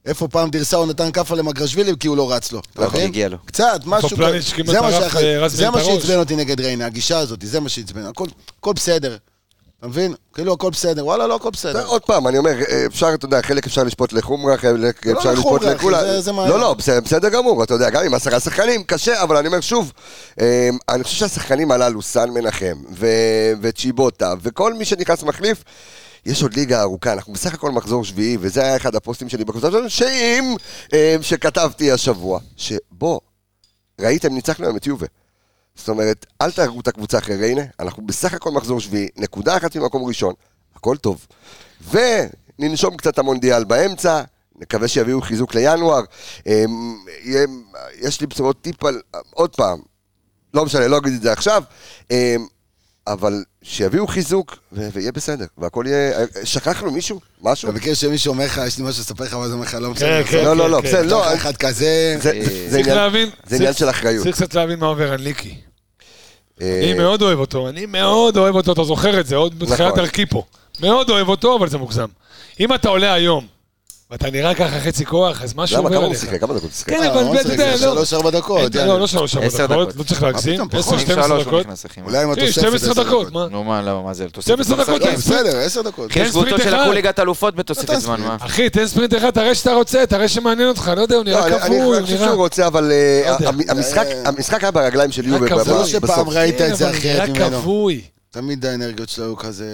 איפה פעם דרסאו נתן כאפה למגרשווילי כי הוא לא רץ לו, אתה נכון, מבין? הגיע לו. קצת, משהו פלניץ' כזה. כמעט זה מה טרף, שהיה- אה, רז זה בן מה את הראש. שעצבן אותי נגד ריינה, הגישה הזאת, זה מה שעצבן, הכל- הכל בסדר. אתה מבין? כאילו הכל בסדר, וואלה, לא הכל אתה יודע, בסדר. עוד פעם, אני אומר, אה, אפשר, אתה יודע, חלק אפשר לשפוט לחומרה, חלק לא אפשר לחומרה, לשפוט אחי, לכולם. זה- זה מה- לא, לא, בסדר, בסדר גמור, אתה יודע, גם עם עשרה שחקנים, קשה, אבל אני אומר שוב, אה, אני חושב שהשחקנים הללו, סן מנחם, ו- וצ'יבוטה, וכל מי שנכנס מחליף, יש עוד ליגה ארוכה, אנחנו בסך הכל מחזור שביעי, וזה היה אחד הפוסטים שלי בקבוצה שלנו, שאם, אה, שכתבתי השבוע, שבו, ראיתם, ניצחנו היום את יובה. זאת אומרת, אל תהרגו את הקבוצה אחרי ריינה, אנחנו בסך הכל מחזור שביעי, נקודה אחת ממקום ראשון, הכל טוב. וננשום קצת המונדיאל באמצע, נקווה שיביאו חיזוק לינואר. אמ, יהיה- יש לי בשורות טיפה, עוד פעם, לא משנה, לא אגיד את זה עכשיו. אה, אבל שיביאו חיזוק, ו- ויהיה בסדר, והכל יהיה... אה, שכחנו מישהו? משהו? אתה מכיר שמישהו אומר לך, יש לי משהו לספר לך, ואז אומר לך, לא כן, משנה. כן, לא, לא, לא, כן. אה, בסדר, לא, לא, אחד כזה, זה- זה צריך עניין- להבין- זה עניין צריך- של אחריות. צריך קצת להבין מה עובר על ליקי. אה, אני מאוד אוהב אותו, אני מאוד אוהב אותו, אתה זוכר את זה, עוד בתחילת נכון. דרכי פה. מאוד אוהב אותו, אבל זה מוגזם. אם אתה עולה היום, ואתה נראה ככה חצי כוח, אז משהו למה, עובר כמה הוא עליך. שיחק? כמה דקות הוא שיחק? כן, אה, אבל ממש אתה יודע, רגע, לא. שלוש-ארבע דעות, אין- אה. יאללה. לא, לא שלוש ארבע עשר דקות, דקות. לא צריך להגזים, מה פתאום, עשר, פחות. שתים עשרה דקות. אולי עם תראי, התוספת... 12 עשר דקות, מה? לא נו, מה, למה, מה זה? תוספת 12 זמן? דקות, לא, כן. בסדר, עשר דקות. כן, יש קבוצות ספרינט שלקחו אחד. ליגת אלופות בתוספת לא, זמן, מה? אחי, תן ספרינט אחד, תראה שאתה רוצה, תראה שמעניין אותך, לא יודע, הוא לא, נראה אני- כפוי, אני הוא חושב שהוא נראה... רוצה, אבל אה, לא יודע. המ- המשחק- המשחק היה ברגליים של יובל כפוי. זה לא בסוף. שפעם ראית כן, את זה אבל אחרת נראה ממנו. כבוי. תמיד האנרגיות שלו היו כזה...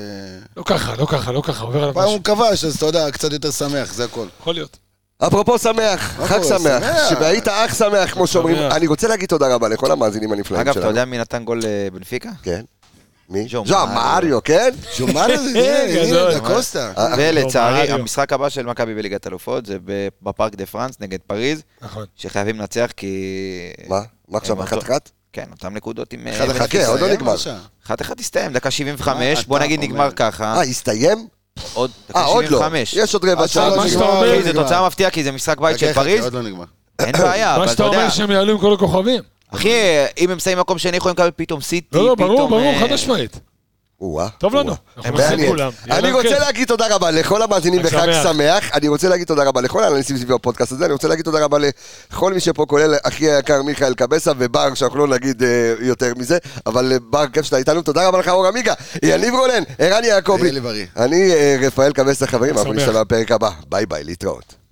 לא ככה, לא ככה, לא ככה, עובר עליו פעם משהו. הוא כבש, אז אתה יודע, קצת יותר שמח, זה הכל. יכול להיות. אפרופו שמח, חג קורה? שמח, שמח. שהיית אח שמח, כמו שאומרים. שמח. אני רוצה להגיד תודה רבה לכל המאזינים הנפלאים שלנו. אגב, אתה יודע מי נתן גול אה, לבנפיקה? כן. מי? ז'ו ז'ו מריו, מריו, כן? שומע לזה, אה, גדול. הנה, דקוסטה. אה, לא, ולצערי, מריו. המשחק הבא של מכבי בליגת אלופות זה ב- בפארק דה פרנס נגד פריז, נכון. שחייבים לנצח כי... מה? מה עכשיו, הם אותו- אחת-אחת? כן, אותם נקודות עם... אחד אה, אחד, אה, כן, עוד לא נגמר. אחת אחת הסתיים, דקה מה 75, אתה בוא נגיד אומר? נגמר ככה, אה, הסתיים? עוד דקה אה, עוד לא. 75. יש עוד רבע אה, שעה. מה לא שאתה נגמר, אומר, לא אוקיי, זו נגמר. תוצאה מפתיעה כי זה משחק בית חכה, של חכה, פריז, עוד לא נגמר. אין בעיה, מה אבל שאתה אתה יודע, אומר שהם יעלו עם כל הכוכבים. אחי, אה, אם הם שמים מקום שני יכולים לקבל פתאום סיטי, פתאום... לא, לא, ברור, ברור, אה, חד משמעית. או-אה. טוב לנו. או-אה. אנחנו מעניין. נוסעים כולם. יהיה אני לנו רוצה כיף. להגיד תודה רבה לכל המאזינים חג בחג שמח. שמח. אני רוצה להגיד תודה רבה לכל האנשים סביב הפודקאסט הזה. אני רוצה להגיד תודה רבה לכל מי שפה, כולל אחי היקר מיכאל קבסה ובר, שאנחנו לא נגיד אה, יותר מזה, אבל אה, בר, כיף שאתה איתנו. תודה רבה לך, אור עמיגה, יניב רולן, ערן יעקבי. ויהיה לי בריא. אני אה, רפאל קבסה, חברים, אנחנו שמח. נשתמע בפרק הבא. ביי ביי, להתראות.